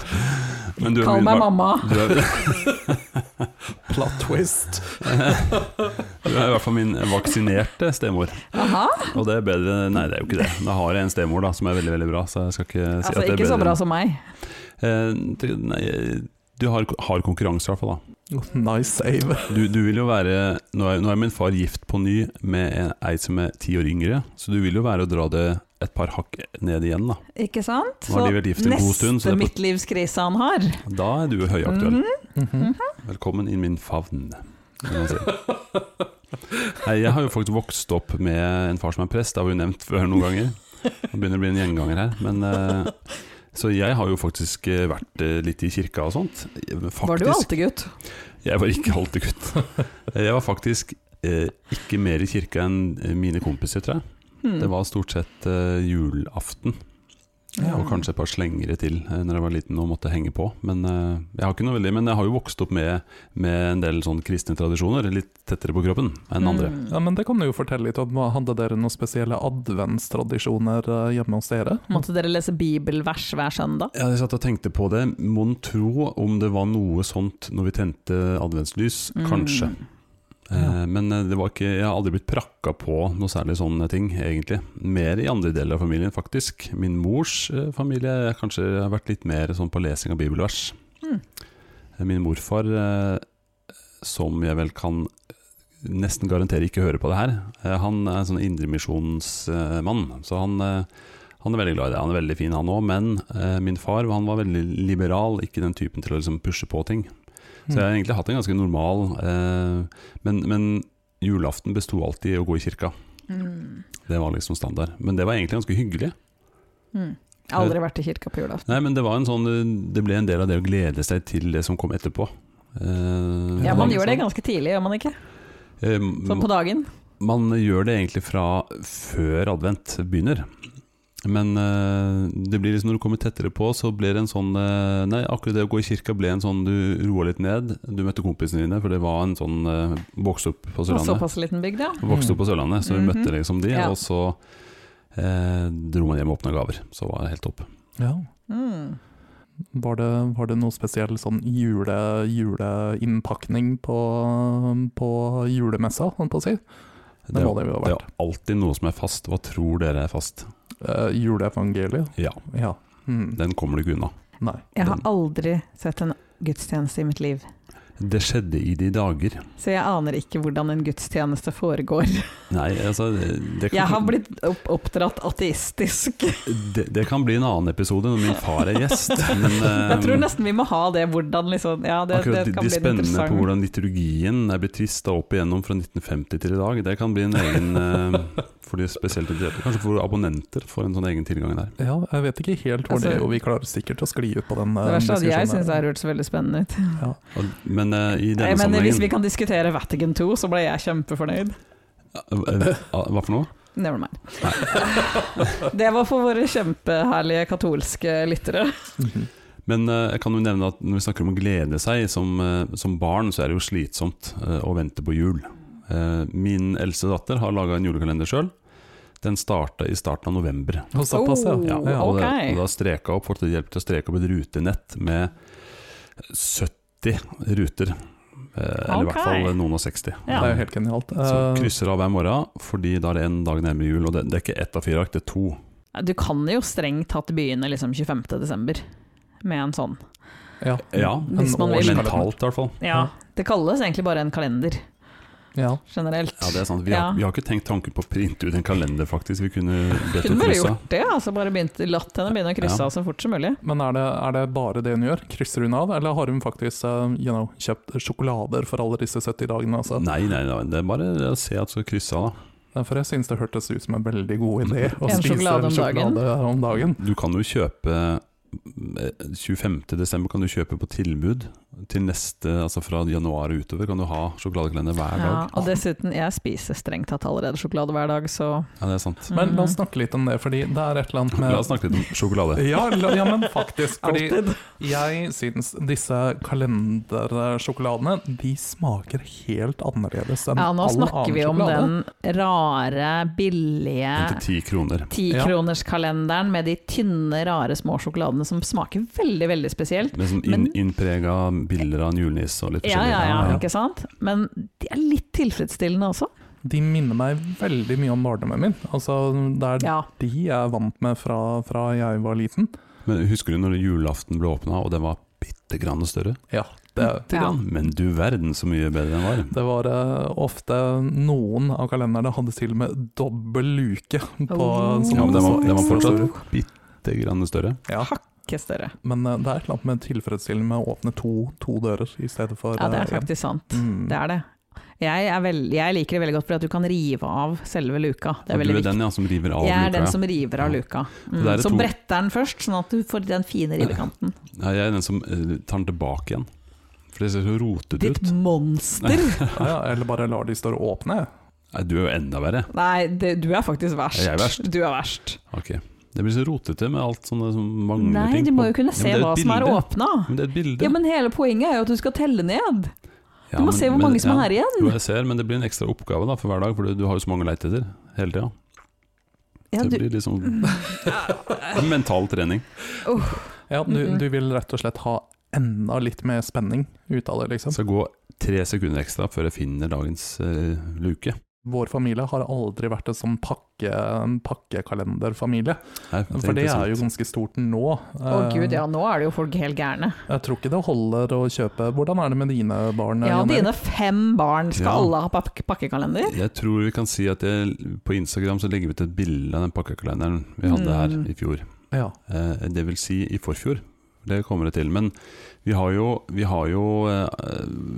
Speaker 2: Men du er
Speaker 4: Kall
Speaker 2: min
Speaker 4: meg
Speaker 2: far-
Speaker 4: mamma.
Speaker 2: Du er,
Speaker 3: Plot twist.
Speaker 2: Du er i hvert fall min vaksinerte stemor,
Speaker 4: Aha.
Speaker 2: og det er bedre Nei, det er jo ikke det. Da har jeg en stemor da, som er veldig veldig bra, så jeg skal ikke si
Speaker 4: Altså,
Speaker 2: at det er
Speaker 4: ikke så bra
Speaker 2: bedre.
Speaker 4: som meg.
Speaker 2: enn- Eh, til- nei, du har, har konkurranse, i hvert fall. da.
Speaker 3: Oh, Nice save.
Speaker 2: Du, du vil jo være nå er, nå er min far gift på ny med en- ei som er ti år yngre, så du vil jo være å dra det et par hakk ned igjen, da.
Speaker 4: Ikke sant?
Speaker 2: Nå har de vært gift en god stund, så det
Speaker 4: neste
Speaker 2: er på-
Speaker 4: midtlivskrise han har.
Speaker 2: Da er du høyaktuell.
Speaker 4: Mhm.
Speaker 2: Velkommen i min favn. kan man si. Nei, jeg har jo faktisk vokst opp med en far som er prest, det har vi jo nevnt før noen ganger. Han begynner å bli en gjenganger her. Men, eh, så jeg har jo faktisk eh, vært eh, litt i kirka og sånt. Faktisk,
Speaker 4: Var du alltid gutt?
Speaker 2: Jeg var ikke alltid gutt. Jeg var faktisk eh, ikke mer i kirka enn eh, mine kompiser, tror jeg.
Speaker 4: Hmm.
Speaker 2: Det var stort sett eh, julaften,
Speaker 3: Ja.
Speaker 2: og kanskje et par slengere til eh, når jeg var liten og måtte henge på. Men eh, jeg har ikke noe veldig Men jeg har jo vokst opp med, med en del sånne kristne tradisjoner, litt tettere på kroppen enn andre.
Speaker 4: Hmm.
Speaker 3: Ja, men det kan du jo fortelle litt om. Hadde dere noen spesielle adventstradisjoner eh, hjemme hos dere?
Speaker 4: Måtte dere lese bibelvers hver søndag?
Speaker 2: Ja, Jeg satt og tenkte på det. Mon tro om det var noe sånt når vi tente adventslys? Kanskje.
Speaker 4: Mm.
Speaker 2: Eh, Men eh, det var ikke, jeg har aldri blitt prakka på noe særlig sånne ting, egentlig. Mer i andre deler av familien, faktisk. Min mors eh, familie eh, kanskje har vært litt mer sånn på lesing av bibelvers.
Speaker 4: Mm.
Speaker 2: Eh, Min morfar, eh, som jeg vel kan nesten garantere ikke hører på det her, eh, han er en sånn indremisjonsmann, så han eh, han er veldig glad i det, han er veldig fin han òg, men eh, min far han var veldig liberal, ikke den typen til å liksom pushe på ting. Så jeg har egentlig hatt en ganske normal eh, men, men julaften besto alltid i å gå i kirka.
Speaker 4: Mm.
Speaker 2: Det var liksom standard. Men det var egentlig ganske hyggelig.
Speaker 4: Mm. Jeg har aldri vært i kirka på julaften.
Speaker 2: Nei, men det, var en sånn, eh, det ble en del av det å glede seg til det som kom etterpå. Eh,
Speaker 4: Ja,
Speaker 2: man-
Speaker 4: man gjør det ganske tidlig, gjør man ikke?
Speaker 2: eh,
Speaker 4: Sånn på dagen.
Speaker 2: Man gjør det egentlig fra før advent begynner. Men eh, det blir liksom når du kommer tettere på, så blir det en sånn eh, Nei, akkurat det å gå i kirka ble en sånn du roa litt ned. Du møtte kompisene dine, for det var en sånn eh, Vokste opp på
Speaker 4: Og
Speaker 2: Sørlandet.
Speaker 4: såpass liten bygd, ja.
Speaker 2: Vokste opp på Sørlandet, så vi
Speaker 4: Mhm.
Speaker 2: møtte liksom de,
Speaker 4: Ja.
Speaker 2: og så eh, dro man hjem og åpna gaver. Så var det helt topp.
Speaker 3: Ja.
Speaker 4: Mm.
Speaker 3: Var det, var det noe spesiell sånn jule, juleinnpakning på, på julemessa, holdt på å si? Det må det jo ha
Speaker 2: Det
Speaker 3: vært.
Speaker 2: er alltid noe som er fast. Hva tror dere er fast?
Speaker 3: Eh, juleevangeliet?
Speaker 2: Ja,
Speaker 3: Ja. Mm.
Speaker 2: den kommer du ikke unna.
Speaker 3: Nei.
Speaker 4: Jeg har aldri sett en gudstjeneste i mitt liv,
Speaker 2: Det skjedde i de dager.
Speaker 4: så jeg aner ikke hvordan en gudstjeneste foregår.
Speaker 2: Nei, altså det kan,
Speaker 4: Jeg har blitt opp oppdratt ateistisk.
Speaker 2: det, det kan bli en annen episode når min far er gjest. Men
Speaker 4: Jeg tror
Speaker 2: eh,
Speaker 4: nesten vi må ha det, hvordan liksom Ja, det,
Speaker 2: akkurat
Speaker 4: det
Speaker 2: de,
Speaker 4: kan
Speaker 2: de
Speaker 4: bli en
Speaker 2: spennende på
Speaker 4: interessant.
Speaker 2: hvordan liturgien er blitt tvista opp igjennom fra 1950 til i dag, det kan bli en egen eh, for de spesielt interesserte. Kanskje for abonnenter får en sånn egen tilgang der.
Speaker 3: Ja, jeg vet ikke helt hvor
Speaker 4: Altså-
Speaker 3: det er, og vi klarer sikkert å skli ut på den
Speaker 4: Det
Speaker 3: eh,
Speaker 4: verste er at jeg
Speaker 3: diskusjonen
Speaker 4: syns det
Speaker 3: her.
Speaker 4: har hørtes veldig spennende ut.
Speaker 2: Og, men eh, i denne
Speaker 4: Jeg mener, hvis vi
Speaker 2: sammenhengen
Speaker 4: kan diskutere Vatican 2, så ble jeg kjempefornøyd.
Speaker 2: Eh, eh, Hva for noe?
Speaker 4: Never mind. Det var for våre kjempeherlige katolske lyttere.
Speaker 3: Mhm.
Speaker 2: Men eh, jeg kan jo nevne at når vi snakker om å glede seg som, eh, som barn, så er det jo slitsomt eh, å vente på jul. Eh, min eldste datter har laga en julekalender sjøl. Den starta i starten av november.
Speaker 3: Og såpass, ja.
Speaker 4: Oh.
Speaker 2: Ja,
Speaker 3: ja.
Speaker 2: og da,
Speaker 4: ok.
Speaker 2: og da streka opp, folk til hjelp til å streke opp et rutenett med 70 ruter. Eh, Eller i
Speaker 4: Ok.
Speaker 2: hvert fall noen og 60.
Speaker 4: Ja.
Speaker 3: Det er jo helt genialt.
Speaker 2: Som
Speaker 3: Eh,
Speaker 2: krysser av hver morgen, fordi da er det en dag nærmere jul. Og det, det er ikke ett av fire ark, det er to.
Speaker 4: Du kan jo strengt tatt begynne liksom 25. desember med en sånn.
Speaker 3: ja.
Speaker 2: Ja,
Speaker 4: Hvis man vil.
Speaker 2: mentalt i hvert fall.
Speaker 4: Ja, Det kalles egentlig bare en kalender,
Speaker 3: Ja.
Speaker 4: generelt.
Speaker 2: Ja, det er sant. Vi har,
Speaker 4: Ja.
Speaker 2: vi har ikke tenkt tanken på å printe ut en kalender, faktisk. Vi kunne bedt
Speaker 4: Kunne
Speaker 2: om
Speaker 4: bare
Speaker 2: kryssa.
Speaker 4: gjort det, altså bare begynt, latt henne begynne å krysse
Speaker 2: Ja.
Speaker 4: av så fort som mulig.
Speaker 3: Men er det, er det bare det hun gjør? Krysser hun av, eller har hun faktisk eh, you know, kjøpt sjokolader for alle disse 70 dagene? Altså?
Speaker 4: Sånn.
Speaker 2: Nei, nei, nei, det er bare å se at du kryssa, da.
Speaker 3: For jeg synes det hørtes ut som en veldig god idé å
Speaker 4: En
Speaker 3: spise
Speaker 4: sjokolade om
Speaker 3: en sjokolade om dagen.
Speaker 2: Du kan jo kjøpe 25. desember kan du kjøpe på tilbud til neste, altså fra januar og utover kan du ha sjokoladekalender hver
Speaker 4: Ja,
Speaker 2: dag.
Speaker 4: og dessuten, jeg spiser strengt tatt allerede sjokolade hver dag, så
Speaker 2: Ja, det er sant.
Speaker 3: Men la oss
Speaker 4: Mm.
Speaker 3: snakke litt om det, fordi det er et eller annet med
Speaker 2: La oss snakke litt om sjokolade.
Speaker 3: ja, la, ja, men faktisk. Fordi
Speaker 4: Alltid.
Speaker 3: Jeg syns disse kalendersjokoladene De smaker helt annerledes enn
Speaker 4: Ja,
Speaker 3: all
Speaker 4: nå
Speaker 3: annen sjokolade.
Speaker 4: snakker vi om den rare, billige
Speaker 2: Den til ti kroner.
Speaker 4: tikronerskalenderen med de tynne, rare små sjokoladene som smaker veldig, veldig spesielt.
Speaker 2: Med sånn inn,
Speaker 4: Men-
Speaker 2: innprega bilder av julenisse og litt
Speaker 4: Ja, ja, ja,
Speaker 2: Ja,
Speaker 4: ikke sant? Men de er litt tilfredsstillende også.
Speaker 3: De minner meg veldig mye om barndommen min. Altså, det er
Speaker 4: Ja.
Speaker 3: de jeg er vant med fra, fra jeg var liten.
Speaker 2: ja. Men husker du når julaften ble åpna, og den var bitte grann større?
Speaker 3: Ja, det,
Speaker 2: Bitte grann, men du verden så mye bedre den var.
Speaker 3: det var eh, ofte noen av kalenderne hadde til og med dobbel luke. På,
Speaker 4: Oh.
Speaker 3: som
Speaker 2: Ja,
Speaker 3: hadde
Speaker 2: men den var,
Speaker 3: så
Speaker 2: den var
Speaker 3: ekstra
Speaker 2: fortsatt
Speaker 3: store.
Speaker 2: bitte grann større.
Speaker 3: Ja,
Speaker 4: Ikke større.
Speaker 3: men eh, det er et eller annet med tilfredsstillende med å åpne to, to dører i stedet for
Speaker 4: Ja, det er
Speaker 3: eh, en.
Speaker 4: faktisk sant.
Speaker 3: Mm.
Speaker 4: Det er det. Jeg, er veld, jeg liker det veldig godt fordi at du kan rive av selve luka. Det er
Speaker 2: Og du
Speaker 4: veldig
Speaker 2: er
Speaker 4: viktig.
Speaker 2: den ja, som river av
Speaker 4: Jeg er
Speaker 2: luka.
Speaker 4: den
Speaker 2: ja.
Speaker 4: som river av
Speaker 2: Ja.
Speaker 4: luka.
Speaker 2: Så det er
Speaker 4: Mm.
Speaker 2: det
Speaker 4: Så
Speaker 2: to-
Speaker 4: bretter den først, sånn at du får den fine rivekanten.
Speaker 2: Nei, jeg er den som eh, tar den tilbake igjen. For det ser så rotete
Speaker 4: Ditt
Speaker 2: ut.
Speaker 4: monster!
Speaker 3: Ja, ja, eller bare lar de stå åpne.
Speaker 2: Nei, du er jo enda verre.
Speaker 4: Nei, det, du er faktisk verst.
Speaker 2: Jeg er verst.
Speaker 4: Du er verst.
Speaker 2: Ok. Det blir så rotete med alt sånne som mangler
Speaker 4: Nei,
Speaker 2: ting.
Speaker 4: du
Speaker 2: på-
Speaker 4: må jo kunne
Speaker 2: Ja, men
Speaker 4: se
Speaker 2: det er jo
Speaker 4: hva
Speaker 2: et
Speaker 4: som er
Speaker 2: bilde.
Speaker 4: åpna.
Speaker 2: Men det er et bilde.
Speaker 4: Ja, men hele poenget er jo at du skal telle ned.
Speaker 2: Ja,
Speaker 4: Du
Speaker 2: men-
Speaker 4: må se hvor
Speaker 2: men-
Speaker 4: mange som
Speaker 2: ja.
Speaker 4: er igjen.
Speaker 2: Jo, jeg ser, men det blir en ekstra oppgave da, for hver dag, for du- du har jo så mange å leite etter hele tida.
Speaker 4: Ja,
Speaker 2: det
Speaker 4: du,
Speaker 2: blir liksom mental trening.
Speaker 3: Ja, du,
Speaker 4: Mhm.
Speaker 3: du vil rett og slett ha enda litt mer spenning ut av det, liksom.
Speaker 2: Jeg skal gå tre sekunder ekstra før jeg finner dagens eh, luke.
Speaker 3: Vår familie har aldri vært en sånn pakke, pakkekalenderfamilie,
Speaker 2: Nei,
Speaker 3: for det er jo ganske stort nå.
Speaker 4: å gud, ja, nå er det jo folk helt gærne.
Speaker 3: Jeg tror ikke det holder å kjøpe Hvordan er det med dine barn?
Speaker 4: Ja,
Speaker 3: Jan Erik?
Speaker 4: dine fem barn, skal
Speaker 2: Ja.
Speaker 4: alle ha pak pakkekalender?
Speaker 2: Jeg tror vi kan si at jeg, på Instagram så legger vi ut et bilde av den pakkekalenderen vi hadde her
Speaker 4: Mm.
Speaker 2: i fjor.
Speaker 3: Ja.
Speaker 2: Eh, det vil si i forfjor. Det kommer det til. Men vi har jo, vi har jo eh,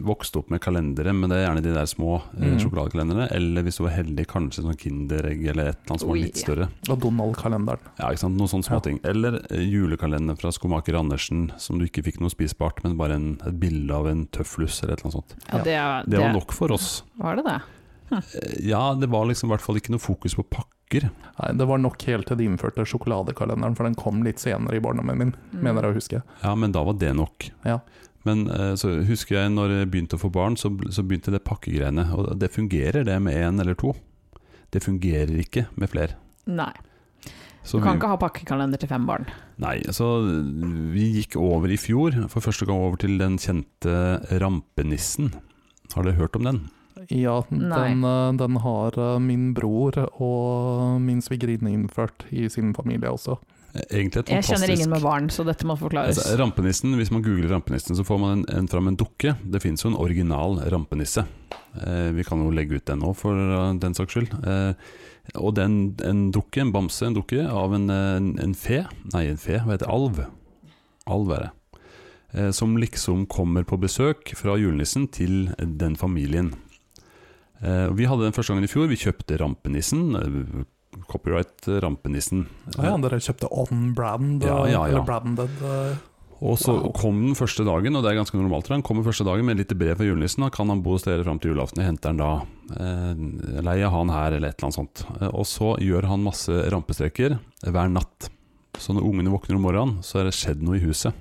Speaker 2: vokst opp med kalendere, men det er gjerne de der små eh,
Speaker 3: Mm.
Speaker 2: sjokoladekalenderne. Eller hvis du var heldig, kanskje sånn Kinderegg eller et eller annet som
Speaker 4: Oi.
Speaker 2: var litt større.
Speaker 3: Og Donald-kalenderen.
Speaker 2: Ja, ikke sant? Noen sånne
Speaker 3: Ja.
Speaker 2: småting. Eller eh, julekalender fra skomaker Andersen som du ikke fikk noe spisbart, men bare en, et bilde av en tøfflus eller et eller annet sånt.
Speaker 4: Ja, det, er-
Speaker 2: Det var
Speaker 4: det-
Speaker 2: nok for oss.
Speaker 4: Var det det?
Speaker 2: Ja, det var liksom i hvert fall ikke noe fokus på pakker.
Speaker 3: Nei, det var nok helt til de innførte sjokoladekalenderen, for den kom litt senere i barndommen min,
Speaker 4: Mm.
Speaker 3: mener jeg å huske.
Speaker 2: Ja, men da var det nok.
Speaker 3: Ja.
Speaker 2: Men eh, så husker jeg når jeg begynte å få barn, så, så begynte det pakkegreiene. Og det fungerer det med én eller to. Det fungerer ikke med flere.
Speaker 4: Nei.
Speaker 2: Så
Speaker 4: Du kan
Speaker 2: vi-
Speaker 4: ikke ha pakkekalender til fem barn.
Speaker 2: Nei, så vi gikk over i fjor, for første gang over til den kjente rampenissen. Har dere hørt om den?
Speaker 3: Ja,
Speaker 4: Nei.
Speaker 3: den, eh, den har eh, min bror og min svigerinne innført i sin familie også.
Speaker 2: E-, Egentlig et
Speaker 4: Jeg
Speaker 2: fantastisk
Speaker 4: kjenner ingen med barn, så dette må forklares.
Speaker 2: Altså, rampenissen, Hvis man googler rampenissen, så får man en, en, fram en dukke. Det fins jo en original rampenisse. Eh, vi kan jo legge ut den nå, for eh, den saks skyld. Eh, og det er en, en dukke, en bamse, en dukke av en, eh, en, en fe Nei, en fe, hva heter det? Alv. Alv er det. Eh, som liksom kommer på besøk fra julenissen til den familien. Eh, og vi hadde den første gangen i fjor. Vi kjøpte rampenissen. Eh, copyright eh, rampenissen.
Speaker 3: Ah, ja, dere kjøpte on brand, eh,
Speaker 2: Ja, ja, ja.
Speaker 3: eller branded. eh,
Speaker 2: Og så
Speaker 3: Wow.
Speaker 2: kom den første dagen, og det er ganske normalt for han kommer første dagen med et lite brev fra julenissen. Da kan han bo hos dere fram til julaften? Jeg henter han da. Eh, leier han her, eller et eller annet sånt. Eh, og så gjør han masse rampestreker hver natt. Så når ungene våkner om morgenen, så er det skjedd noe i huset.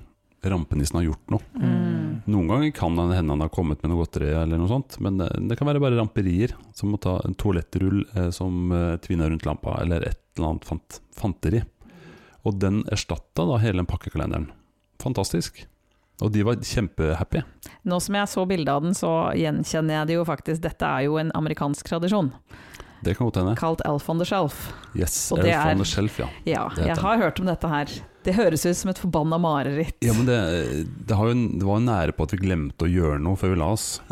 Speaker 2: Rampenissen har gjort noe.
Speaker 4: Mm.
Speaker 2: Noen ganger kan det hende han har kommet med noe godteri, eller noe sånt, men det, det kan være bare ramperier. Som å ta en toalettrull eh, som eh, tvinna rundt lampa, eller et eller annet fant, fanteri. Og den erstatta da hele den pakkekalenderen. Fantastisk. Og de var kjempehappy.
Speaker 4: Nå som jeg så bildet av den, så gjenkjenner jeg det jo faktisk. Dette er jo en amerikansk tradisjon,
Speaker 2: Det kan godt hende.
Speaker 4: kalt Elf on the Shelf.
Speaker 2: Yes,
Speaker 4: Og
Speaker 2: Elf
Speaker 4: det er-
Speaker 2: on the shelf, ja.
Speaker 4: Ja,
Speaker 2: Det er
Speaker 4: jeg
Speaker 2: den.
Speaker 4: har hørt om dette her. Det høres ut som et forbanna mareritt.
Speaker 2: Ja, men det, det, har jo, det var jo nære på at vi glemte å gjøre noe før vi la oss.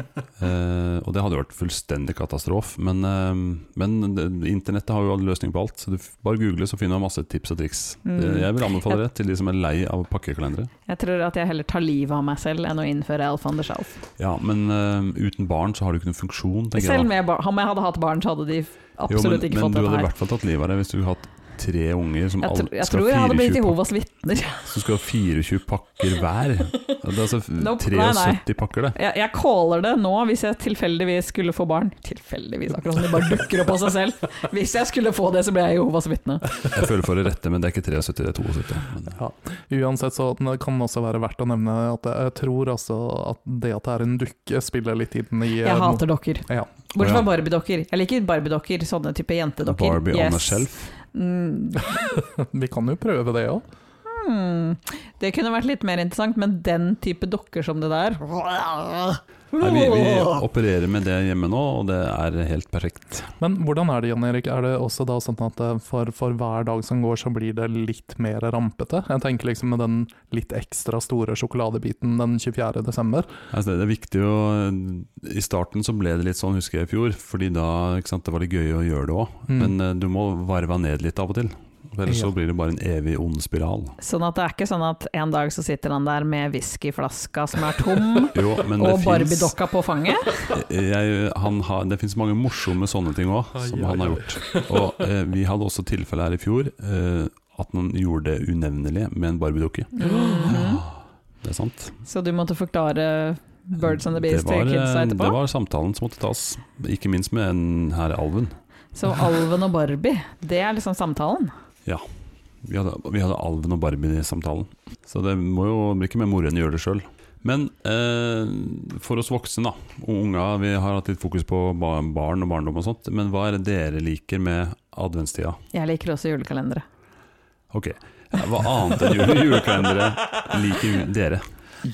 Speaker 2: Eh, og det hadde jo vært fullstendig katastrof. Men, eh, men det, internettet har jo all løsning på alt. Så du f- bare google, så finner du masse tips og triks.
Speaker 4: Mm.
Speaker 2: Eh, Jeg vil anbefale det til de som er lei av pakkekalendere.
Speaker 4: Jeg tror at jeg heller tar livet av meg selv enn å innføre Elf on the Shelf.
Speaker 2: Ja, men eh, uten barn så har du ikke noen funksjon, tenker jeg da.
Speaker 4: Selv om jeg, ba- om jeg hadde hatt barn, så hadde de
Speaker 2: jo,
Speaker 4: absolutt
Speaker 2: men,
Speaker 4: ikke
Speaker 2: men du
Speaker 4: fått dette
Speaker 2: hadde i
Speaker 4: her.
Speaker 2: hvert fall tatt livet av deg hvis du hadde hatt tre unger som,
Speaker 4: Jeg,
Speaker 2: alt,
Speaker 4: tr jeg
Speaker 2: skal,
Speaker 4: tror jeg
Speaker 2: ha
Speaker 4: hadde blitt
Speaker 2: 24
Speaker 4: Jehovas vitner.
Speaker 2: pak- som skal ha 24 pakker hver. Det er altså f-
Speaker 4: Nope, nei,
Speaker 2: 73
Speaker 4: nei.
Speaker 2: pakker, det.
Speaker 4: Jeg, jeg caller det nå hvis jeg tilfeldigvis skulle få barn. Tilfeldigvis, akkurat som det bare dukker opp av seg selv. Hvis jeg skulle få det, så ble jeg Jehovas vitne.
Speaker 2: Jeg føler for å rette, men det er ikke 73, det er 72. Men,
Speaker 3: Uansett så den kan det også være verdt å nevne at jeg tror altså at det at det er en dukke spiller litt inn i eh,
Speaker 4: Jeg hater dokker.
Speaker 3: Ja.
Speaker 4: Bortsett
Speaker 2: Ja.
Speaker 4: fra Barbie-dokker. Jeg liker Barbie-dokker, sånne type jentedokker.
Speaker 2: Barbie on a shelf.
Speaker 4: Mm,
Speaker 3: Vi kan jo prøve det òg.
Speaker 4: hmm. Det kunne vært litt mer interessant, men den type dokker som det der
Speaker 2: Nei, vi, vi opererer med det hjemme nå, og det er helt perfekt.
Speaker 3: Men hvordan er det, Jan Erik? Er det også da sånn at eh, for, for hver dag som går, så blir det litt mer rampete? Jeg tenker liksom med den litt ekstra store sjokoladebiten den 24. desember.
Speaker 2: Altså, det er viktig å I starten så ble det litt sånn, husker jeg i fjor, fordi da ikke sant, det var det gøy å gjøre det òg.
Speaker 3: Mm.
Speaker 2: Men eh, du må varve ned litt av og til. Ellers
Speaker 3: Ja.
Speaker 2: så blir det bare en evig ond spiral.
Speaker 4: Sånn at det er ikke sånn at en dag så sitter han der med whiskyflaska som er tom,
Speaker 2: Jo, men det Eh,
Speaker 4: og
Speaker 2: fins
Speaker 4: Barbie-dokka på fanget.
Speaker 2: mange morsomme sånne ting òg, som han har gjort. Og eh, vi hadde også tilfelle her i fjor eh, at noen gjorde det unevnelige med en Barbie-dukke.
Speaker 4: Mhm.
Speaker 2: Det er sant.
Speaker 4: Så du måtte forklare Birds and the Beast
Speaker 2: Det var,
Speaker 4: til kidsa
Speaker 2: eh, Det
Speaker 4: etterpå?
Speaker 2: var samtalen som måtte tas, ikke minst med en herr Alven.
Speaker 4: Så Alven og Barbie, det er liksom samtalen?
Speaker 2: Vi hadde, vi hadde Alven og Barbie i samtalen, så det må jo bli ikke mer moro enn å gjøre det sjøl. Men eh, for oss voksne, da. og Unga, vi har hatt litt fokus på ba- barn og barndom og sånt. Men hva er det dere liker med adventstida?
Speaker 4: Jeg liker også julekalendere.
Speaker 2: Ok, hva annet enn jule, julekalendere liker dere?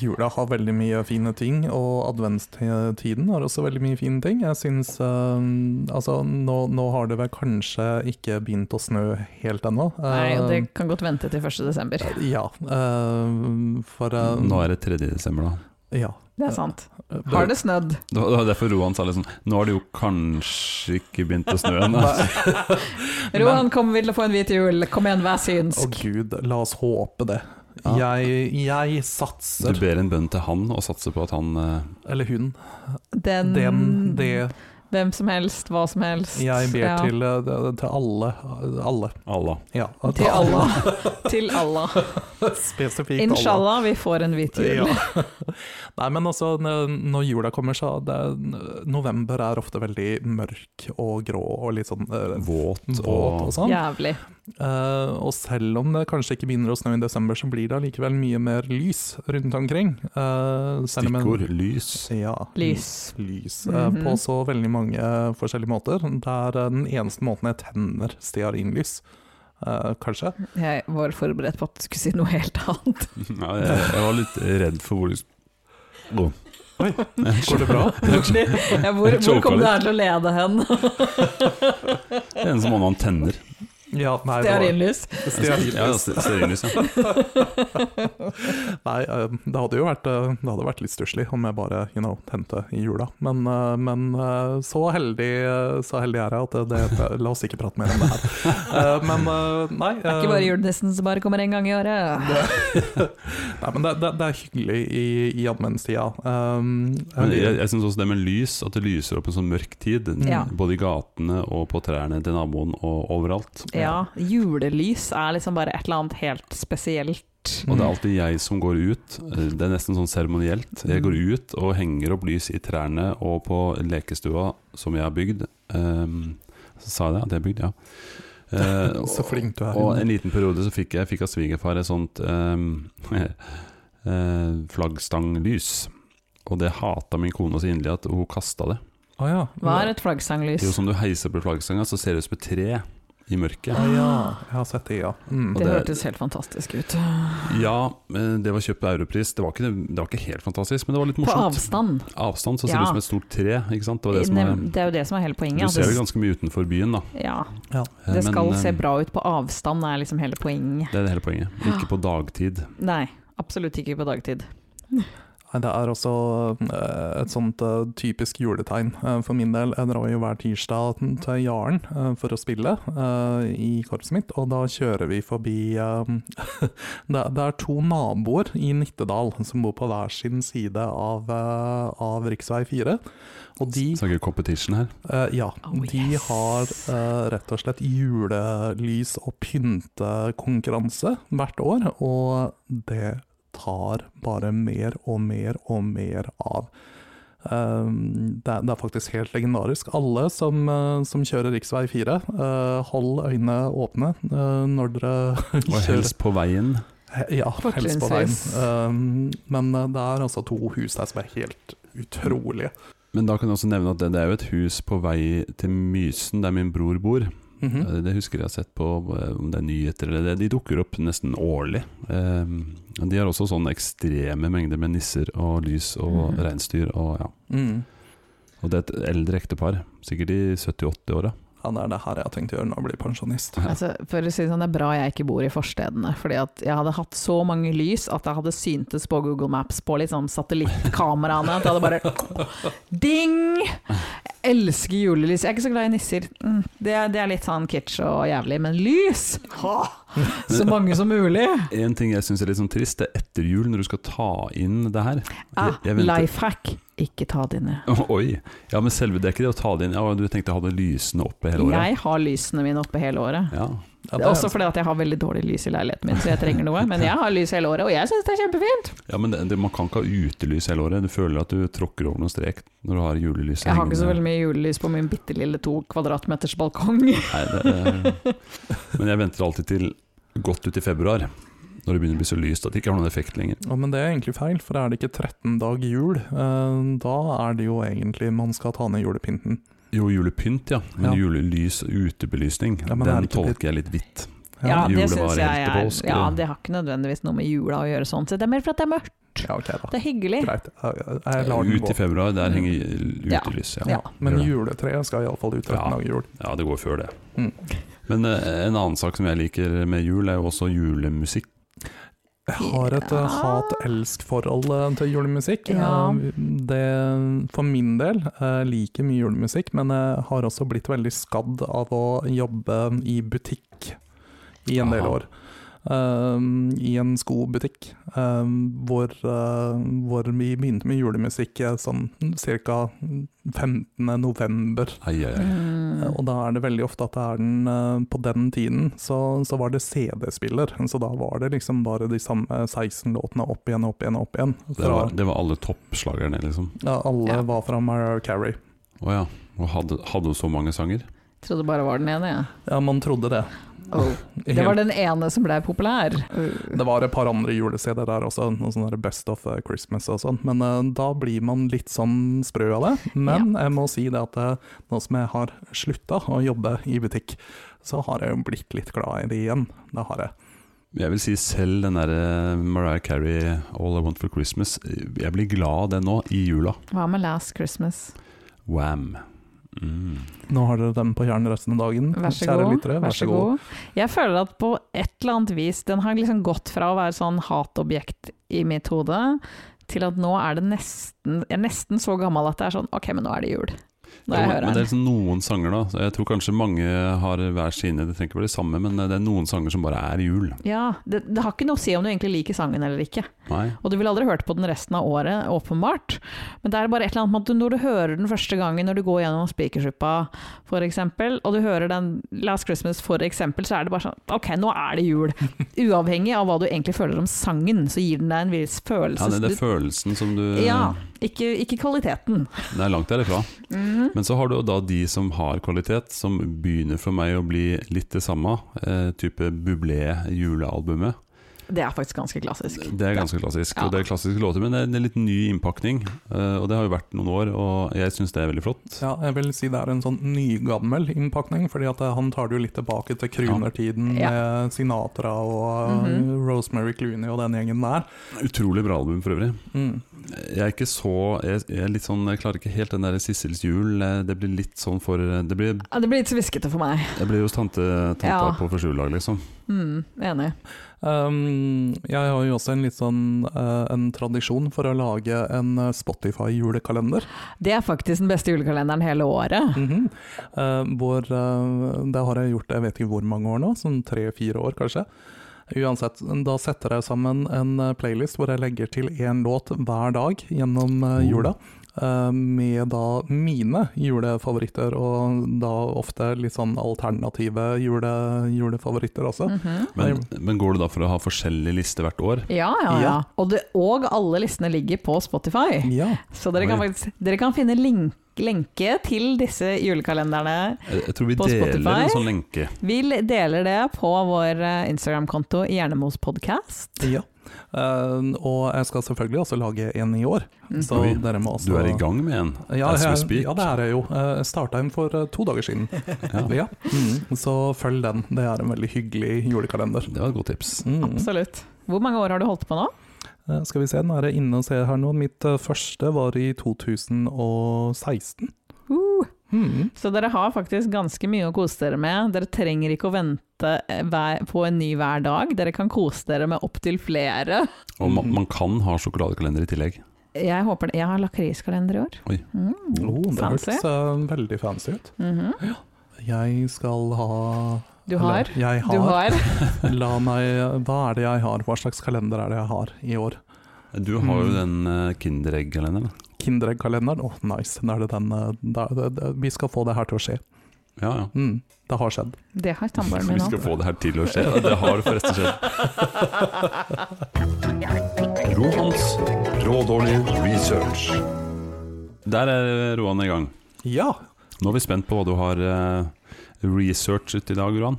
Speaker 3: Jula har veldig mye fine ting, og adventstiden har også veldig mye fine ting. Jeg syns eh, Altså, nå, nå har det vel kanskje ikke begynt å snø helt ennå.
Speaker 4: Nei, og
Speaker 3: Eh,
Speaker 4: det kan godt vente til 1. desember.
Speaker 3: Ja, eh, for eh,
Speaker 2: Nå er det 3. desember, da.
Speaker 3: Ja.
Speaker 4: Det er sant. Har det snødd?
Speaker 2: Det var det var derfor Roan sa litt sånn Nå har det jo kanskje ikke begynt å snø ennå.
Speaker 4: Roan, kom, vil du få en hvit jul? Kom igjen, vær
Speaker 3: Å
Speaker 4: synsk.
Speaker 3: gud, la oss håpe det.
Speaker 2: Ja.
Speaker 3: Jeg, jeg
Speaker 2: Du
Speaker 3: satser,
Speaker 2: ber en bønn til han og satser på at han eh,
Speaker 3: eller hun,
Speaker 4: Den,
Speaker 3: den, det
Speaker 4: Hvem som helst, hva som helst.
Speaker 3: Jeg ber
Speaker 4: Ja.
Speaker 3: til, eh, til alle. alle.
Speaker 2: Allah.
Speaker 3: Ja,
Speaker 4: Til Allah. Til Allah.
Speaker 3: Spesifikt Allah.
Speaker 4: Inshallah, vi får en hvit jul.
Speaker 3: Ja. Nei, men altså, n- når jula kommer, så det, er- November er ofte veldig mørk og grå og litt sånn eh,
Speaker 2: Våt
Speaker 3: våt og
Speaker 2: og
Speaker 3: sånn.
Speaker 4: Jævlig.
Speaker 3: Eh, og selv om det kanskje ikke begynner å snø i desember, så blir det allikevel mye mer lys rundt omkring. Eh, selv om en-
Speaker 2: Stikkord lys.
Speaker 3: Ja.
Speaker 4: Lys.
Speaker 3: Lys. eh,
Speaker 4: Mhm.
Speaker 3: På så veldig mange forskjellige måter. Det er den eneste måten jeg tenner stearinlys, eh, kanskje.
Speaker 4: Jeg var forberedt på at du skulle si noe helt annet.
Speaker 2: Ja, jeg, jeg var litt redd for hvor Gå.
Speaker 3: Oi,
Speaker 2: går det bra?
Speaker 4: Ja, hvor, hvor kom det her til å lede hen?
Speaker 2: Det eneste måneden han tenner.
Speaker 3: Ja, nei, det var-
Speaker 4: Stearinlys.
Speaker 2: Ja,
Speaker 3: Stearinlys.
Speaker 2: se- stearinlys, ja.
Speaker 3: Nei, eh, det hadde jo vært, eh, det hadde vært litt stusslig om jeg bare you know, tente i jula. Men, eh, men eh, så, heldig, eh, så heldig er jeg at det, det, la oss ikke prate mer om det her. Eh, Men eh, nei.
Speaker 4: Det er ikke bare julenissen som bare kommer en gang i året.
Speaker 3: Nei, men det, det, det er hyggelig i, i adventstida. Um,
Speaker 2: Men jeg, jeg syns også det med lys, at det lyser opp en sånn mørk tid.
Speaker 4: Ja.
Speaker 2: Både i gatene og på trærne til naboen og overalt.
Speaker 4: Ja, julelys er liksom bare et eller annet helt spesielt.
Speaker 3: Mm.
Speaker 2: Og det er alltid jeg som går ut. Det er nesten sånn seremonielt. Jeg
Speaker 3: Mm.
Speaker 2: går ut og henger opp lys i trærne og på lekestua som jeg har bygd. Ehm, så sa jeg det, at jeg har bygd, ja. Eh,
Speaker 3: Så flink du er.
Speaker 2: Og en liten periode så fikk jeg fikk av svigerfar et sånt ehm, eh, flaggstanglys. Og det hata min kone så inderlig at hun kasta det.
Speaker 3: Å ja.
Speaker 4: Hva er
Speaker 2: Det er jo
Speaker 4: et
Speaker 2: sånn-
Speaker 4: flaggsanglys?
Speaker 2: som du heiser på flaggstanga, så ser det ut som et tre i mørket.
Speaker 3: Å ja, jeg har sett det, ja. Mm.
Speaker 2: og
Speaker 4: Det
Speaker 2: det-
Speaker 4: hørtes helt fantastisk ut.
Speaker 2: Ja, eh, det var kjøpt europris. Det var, ikke, det var ikke helt fantastisk, men det var litt
Speaker 4: På
Speaker 2: morsomt.
Speaker 4: avstand.
Speaker 2: Avstand så ser det
Speaker 4: Ja.
Speaker 2: ut som et stort tre. ikke sant? Det var det som er,
Speaker 4: Nem- Det er jo det som er hele
Speaker 2: du
Speaker 4: poenget.
Speaker 2: ser det
Speaker 4: at
Speaker 2: ganske mye utenfor byen, da.
Speaker 4: det- Ja,
Speaker 3: Ja.
Speaker 2: Eh,
Speaker 4: det skal
Speaker 2: men, eh,
Speaker 4: se bra ut på avstand, er liksom hele poenget.
Speaker 2: Det er det hele poenget. Ikke på dagtid.
Speaker 4: Nei, absolutt ikke på dagtid.
Speaker 3: Nei, Det er også eh, et sånt eh, typisk juletegn eh, for min del. Jeg drar jo hver tirsdag til Jaren eh, for å spille eh, i korpset mitt, og da kjører vi forbi eh, det, er- det er to naboer i Nittedal som bor på hver sin side av, eh, av rv. 4. Og de,
Speaker 2: Snakker competition her.
Speaker 3: eh, ja,
Speaker 4: Oh,
Speaker 3: de
Speaker 4: yes.
Speaker 3: har eh, rett og slett julelys- og pyntekonkurranse hvert år, og det tar bare mer og mer og mer av. Um, det, er, det er faktisk helt legendarisk. Alle som, eh, som kjører rv. 4, eh, hold øynene åpne eh, når dere
Speaker 2: Og
Speaker 3: kjører.
Speaker 2: helst på veien.
Speaker 3: He- Ja, helst på veien.
Speaker 4: Fortrinnsvis.
Speaker 3: Um, men eh, det er altså to hus der som er helt utrolige.
Speaker 2: Men da kan jeg også nevne at det, det er jo et hus på vei til Mysen, der min bror bor.
Speaker 3: Mhm.
Speaker 2: Eh, Det husker jeg har sett på eh, om det er nyheter eller det. De dukker opp nesten årlig. Eh, De har også sånne ekstreme mengder med nisser og lys og
Speaker 4: Mhm.
Speaker 2: reinsdyr og ja.
Speaker 3: Mm.
Speaker 2: Og det er et eldre ektepar, sikkert i 70-80-åra.
Speaker 3: Ja, det er det her jeg har tenkt å gjøre når jeg blir pensjonist.
Speaker 4: Altså, for å si det sånn, det er bra jeg ikke bor i forstedene, fordi at jeg hadde hatt så mange lys at jeg hadde syntes på Google Maps på liksom satellittkameraene, at jeg hadde bare Ding! Jeg elsker julelys. Jeg er ikke så glad i nisser. Mm, Det, er- det er litt sånn kitsch og jævlig, men lys! Ha! Så mange som mulig.
Speaker 2: En ting jeg syns er litt sånn trist, det er etter jul, når du skal ta inn det her.
Speaker 4: Ah,
Speaker 2: jeg venter-
Speaker 4: life hack. Ikke ta det ned.
Speaker 2: Oi! Ja, men selve det er ikke det å ta det inn. Ja, du tenkte å ha det lysende oppe hele året?
Speaker 4: Jeg har lysene mine oppe hele året.
Speaker 2: Ja.
Speaker 3: Ja, det,
Speaker 4: Også fordi at jeg har veldig dårlig lys i leiligheten min, så jeg trenger noe. Men jeg har lys hele året, og jeg syns det er kjempefint.
Speaker 2: ja, men det, det, man kan ikke ha utelys hele året. Du føler at du tråkker over noen strek når du har julelyset
Speaker 4: Jeg har ikke så veldig mye julelys på min bitte lille to kvadratmeters balkong.
Speaker 2: Nei, det, er- men jeg venter alltid til godt ut i februar, når det begynner å bli så lyst at det ikke har noen effekt lenger.
Speaker 3: Ja, men det er egentlig feil, for er det ikke 13 dag jul, eh, da er det jo egentlig man skal ta ned julepynten.
Speaker 2: Jo, julepynt, ja. Men
Speaker 3: Ja.
Speaker 2: julelys og utebelysning,
Speaker 3: Ja, men er det
Speaker 2: den
Speaker 3: ikke litt-
Speaker 2: tolker jeg litt vidt.
Speaker 4: Ja, det
Speaker 2: Julevarer
Speaker 4: syns jeg
Speaker 2: helt til
Speaker 4: er
Speaker 2: påske.
Speaker 4: Ja, det har ikke nødvendigvis noe med jula å gjøre sånn sett. Det er mer for at det er mørkt.
Speaker 3: Ja, ok da.
Speaker 4: Det er hyggelig.
Speaker 3: Greit, jeg, jeg- jeg lar den
Speaker 2: Ut i
Speaker 3: gå.
Speaker 2: februar, der henger utelys. Ja.
Speaker 3: Ja,
Speaker 2: Ja.
Speaker 3: men juletreet skal iallfall ut 13
Speaker 2: Ja.
Speaker 3: dag jul.
Speaker 2: det går før det.
Speaker 3: Mm.
Speaker 2: Men eh, en annen sak som jeg liker med jul, er jo også julemusikk.
Speaker 3: Jeg har et eh,
Speaker 4: Ja.
Speaker 3: hat-elsk-forhold eh, til julemusikk.
Speaker 4: Ja.
Speaker 3: Eh, Det, for min del jeg liker mye julemusikk, men jeg har også blitt veldig skadd av å jobbe i butikk i en del
Speaker 2: Aha.
Speaker 3: år. ehm, i en skobutikk, ehm, hvor, eh, hvor vi begynte med julemusikk eh, sånn ca. 15. november.
Speaker 2: Ai, ai, ai.
Speaker 3: Eh,
Speaker 4: Mm.
Speaker 3: Og da er det veldig ofte at det er den eh, På den tiden så, så var det CD-spiller, så da var det liksom bare de samme 16 låtene opp igjen, opp igjen, opp igjen.
Speaker 2: Det
Speaker 3: Fra,
Speaker 2: var, det var alle toppslagerne, liksom.
Speaker 3: ja, alle
Speaker 4: Ja.
Speaker 3: var fra Mariah Carey.
Speaker 2: Å ja. Og hadde, hadde hun så mange sanger?
Speaker 4: Trodde bare var den ene, jeg.
Speaker 3: Ja, man trodde det.
Speaker 4: Det var den ene som ble populær.
Speaker 3: Det var et par andre jule-CD-er der også, noe sånn der Best of eh, Christmas og sånn, men eh, da blir man litt sånn sprø av det. Men jeg må si det at eh, nå som jeg har slutta å jobbe i butikk, så har jeg jo blitt litt glad i det igjen. Det har jeg.
Speaker 2: Jeg vil si selv den derre Mariah Carey, 'All I Want for Christmas'. eh, Jeg blir glad av den nå, i jula.
Speaker 4: Hva med Last Christmas?
Speaker 2: Wham. Mm.
Speaker 3: Nå har dere dem på hjernen resten av dagen,
Speaker 4: Vær så
Speaker 3: kjære
Speaker 4: god.
Speaker 3: lyttere.
Speaker 4: Vær så god. Jeg føler at på et eller annet vis, den har liksom gått fra å være sånn hatobjekt i mitt hode, til at nå er det nesten Jeg er nesten så gammel at det er sånn Ok, men nå er det jul. Når jeg
Speaker 2: Jo, men
Speaker 4: hører
Speaker 2: det
Speaker 4: den.
Speaker 2: er liksom noen sanger, da. Så Jeg tror kanskje mange har hver sine, det trenger ikke være det samme, men eh, det er noen sanger som bare er jul.
Speaker 4: Ja, det, det har ikke noe å si om du egentlig liker sangen eller ikke.
Speaker 2: Nei.
Speaker 4: Og du ville aldri hørt på den resten av året, åpenbart. Men det er bare et eller annet med at du, når du hører den første gangen, når du går gjennom Spikersuppa f.eks., og du hører den Last Christmas f.eks., så er det bare sånn Ok, nå er det jul. Uavhengig av hva du egentlig føler om sangen, så gir den deg en viss følelse.
Speaker 2: Ja, det, det er følelsen som du
Speaker 4: ja, ikke, ikke kvaliteten.
Speaker 2: Det er langt derifra.
Speaker 4: Mhm.
Speaker 2: Men så har du jo da de som har kvalitet, som begynner for meg å bli litt det samme. Eh, type Bublé julealbumet.
Speaker 4: Det er faktisk ganske klassisk.
Speaker 2: Det er ganske klassisk.
Speaker 4: Ja.
Speaker 2: Og det er klassiske låter, men det er- det er litt ny innpakning. Eh, og det har jo vært noen år, og jeg syns det er veldig flott.
Speaker 3: Ja, jeg vil si det er en sånn nygammel innpakning, fordi at eh, han tar det jo litt tilbake til krunertiden
Speaker 4: Ja. Mhm.
Speaker 3: med Sinatra og eh, Rosemary Clooney og den gjengen der.
Speaker 2: Utrolig bra album for øvrig.
Speaker 3: Mm.
Speaker 2: Jeg er ikke så Jeg, jeg er litt sånn, jeg klarer ikke helt den der Sissels jul. eh, Det blir litt sånn for Det blir,
Speaker 4: Ja, det blir litt hviskete for meg.
Speaker 2: jeg blir hos tante, tanta
Speaker 4: Ja.
Speaker 2: på første juledag, liksom.
Speaker 4: Mm, enig.
Speaker 3: Um, jeg har jo også en litt sånn eh, en tradisjon for å lage en eh, Spotify-julekalender.
Speaker 4: Det er faktisk den beste julekalenderen hele året.
Speaker 3: Mhm. Eh, hvor eh, Det har jeg gjort jeg vet ikke hvor mange år nå, sånn tre-fire år kanskje. Uansett, da setter jeg sammen en eh, playlist hvor jeg legger til én låt hver dag gjennom eh,
Speaker 2: Oh.
Speaker 3: jula. eh, Med da mine julefavoritter, og da ofte litt sånn alternative jule, julefavoritter også.
Speaker 4: Mhm.
Speaker 2: Men, men går det da for å ha forskjellig liste hvert år?
Speaker 4: Ja, ja, ja.
Speaker 3: Ja.
Speaker 4: Og, det, og alle listene ligger på Spotify.
Speaker 2: Mm.
Speaker 3: Ja.
Speaker 4: Så dere kan,
Speaker 2: Oi.
Speaker 4: faktisk, dere kan finne link, lenke til disse julekalenderne.
Speaker 2: Jeg, jeg tror vi
Speaker 4: På
Speaker 2: deler en
Speaker 4: Spotify?
Speaker 2: sånn lenke.
Speaker 4: Vi deler det på vår eh, Instagram-konto Hjernemos podcast.
Speaker 3: Ja. Eh, og jeg skal selvfølgelig også lage en i år,
Speaker 4: Mm.
Speaker 3: så
Speaker 2: Mm. Oi,
Speaker 3: dere må også
Speaker 2: Du er i gang med en?
Speaker 3: Ja,
Speaker 2: As we
Speaker 3: jeg,
Speaker 2: speak.
Speaker 3: ja, det er jeg jo. Eh, Jeg starta en for eh, to dager siden.
Speaker 2: Ja.
Speaker 3: Ja. Mm, så følg den. Det er en veldig hyggelig julekalender.
Speaker 2: Det var et godt tips.
Speaker 3: Mm.
Speaker 4: Absolutt. Hvor mange år har du holdt på nå?
Speaker 3: Eh, Skal vi se, nå er jeg inne og ser her nå. Mitt eh, første var i 2016.
Speaker 4: Uh,
Speaker 3: Mm.
Speaker 4: så dere har faktisk ganske mye å kose dere med. Dere trenger ikke å vente eh, hver, på en ny hver dag. Dere kan kose dere med opptil flere.
Speaker 2: Og ma
Speaker 3: Mhm.
Speaker 2: man kan ha sjokoladekalender i tillegg.
Speaker 4: Jeg håper det. Jeg har lakriskalender i år.
Speaker 2: Oi.
Speaker 4: Mm.
Speaker 3: Oh, det
Speaker 4: Fancy.
Speaker 3: hørtes eh, veldig fancy ut.
Speaker 4: Mhm.
Speaker 3: Jeg skal ha
Speaker 4: Du har?
Speaker 3: Eller, Jeg
Speaker 4: Du
Speaker 3: har.
Speaker 4: har?
Speaker 3: La meg Hva er det jeg har? Hva slags kalender er det jeg har i år?
Speaker 2: Du har jo
Speaker 3: Mhm.
Speaker 2: den eh, Kinderegg-kalenderen. da.
Speaker 3: Kinderegg-kalenderen. Åh, nice. Da er det den eh, da, da, da, Vi skal få det her til å skje.
Speaker 2: Ja, ja.
Speaker 3: Mm, det har skjedd.
Speaker 4: Det har samboeren
Speaker 2: Vi
Speaker 4: min
Speaker 2: skal
Speaker 4: òg.
Speaker 2: få det her til å skje. Ja, Det har forresten skjedd.
Speaker 1: Rohans rådårlig research.
Speaker 2: Der er Roan i gang.
Speaker 3: Ja.
Speaker 2: Nå er vi spent på hva du har eh, researchet i dag, Roan.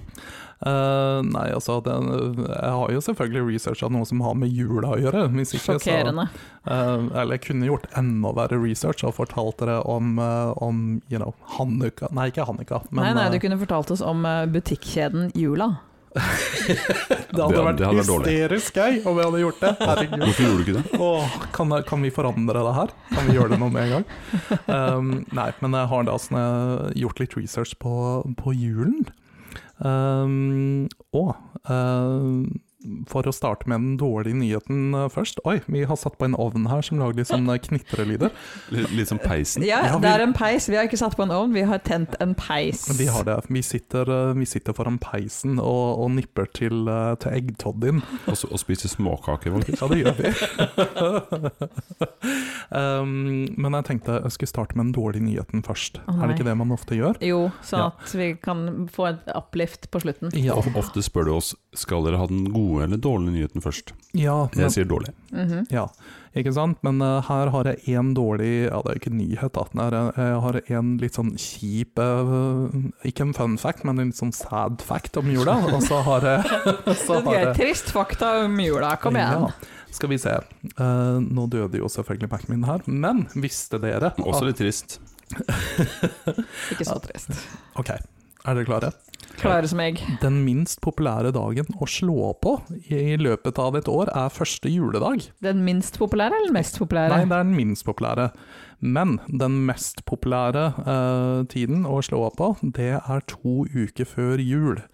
Speaker 3: Eh, nei, altså det, Jeg har jo selvfølgelig researcha noe som har med jula å gjøre. Hvis ikke, så,
Speaker 4: Sjokkerende.
Speaker 3: eh, eller jeg kunne gjort enda verre research og fortalt dere om, eh, om you know, Hanukka Nei, ikke Hanukka, men
Speaker 4: nei, nei,
Speaker 3: eh,
Speaker 4: du kunne fortalt oss om eh, butikkjeden Jula.
Speaker 3: det hadde
Speaker 2: Det-
Speaker 3: vært
Speaker 2: det hadde vært dårlig.
Speaker 3: hysterisk gøy om jeg hadde gjort det. Herregud.
Speaker 2: Hvorfor gjorde du ikke det?
Speaker 3: Åh, kan, jeg- kan vi forandre det her? Kan vi gjøre det noe med en gang? Um, nei, men jeg har da sånn, eh, gjort litt research på, på julen. Um, og eh, for å starte med den dårlige nyheten eh, først Oi, vi har satt på en ovn her som lager litt sånn eh, knitrelyder.
Speaker 2: Litt, litt som peisen.
Speaker 4: Ja,
Speaker 3: Ja, vi-
Speaker 4: det er en peis. Vi har ikke satt på en ovn, vi har tent en peis.
Speaker 3: Vi har det. Vi sitter, eh, vi sitter foran peisen og, og nipper til, eh, til eggtoddyen.
Speaker 2: Og, så- og spiser småkaker, faktisk.
Speaker 3: Ja, det gjør vi. um, men jeg tenkte jeg skulle starte med den dårlige nyheten først.
Speaker 4: Å,
Speaker 3: er
Speaker 4: nei.
Speaker 3: det ikke det man ofte gjør?
Speaker 4: Jo, sånn
Speaker 3: Ja.
Speaker 4: at vi kan få et uplift på slutten.
Speaker 3: Ja,
Speaker 2: Of- Ofte spør du oss skal dere ha den gode eller dårlige nyheten først.
Speaker 3: ja,
Speaker 2: Jeg
Speaker 3: men,
Speaker 2: sier dårlig.
Speaker 4: Mhm.
Speaker 3: ja ikke sant? Men eh, her har jeg én dårlig Ja, det er jo ikke en nyhet, da. Den er, eh, jeg har en litt sånn kjip eh, Ikke en fun fact, men en litt sånn sad fact om jula. Og så har jeg så
Speaker 4: Det er
Speaker 3: har jeg-
Speaker 4: Trist fakta om jula, kom igjen.
Speaker 3: Ja. Skal vi se. Eh, nå døde jo selvfølgelig Mac min her, men visste dere at-
Speaker 2: Også litt trist.
Speaker 4: Ikke så trist.
Speaker 3: Ok, er dere klare?
Speaker 4: Klare som egg.
Speaker 3: Den minst populære dagen å slå på i løpet av et år er første juledag.
Speaker 4: Den minst populære eller den mest populære?
Speaker 3: Nei, det er den minst populære. Men den mest populære eh, tiden å slå på, det er to uker før jul.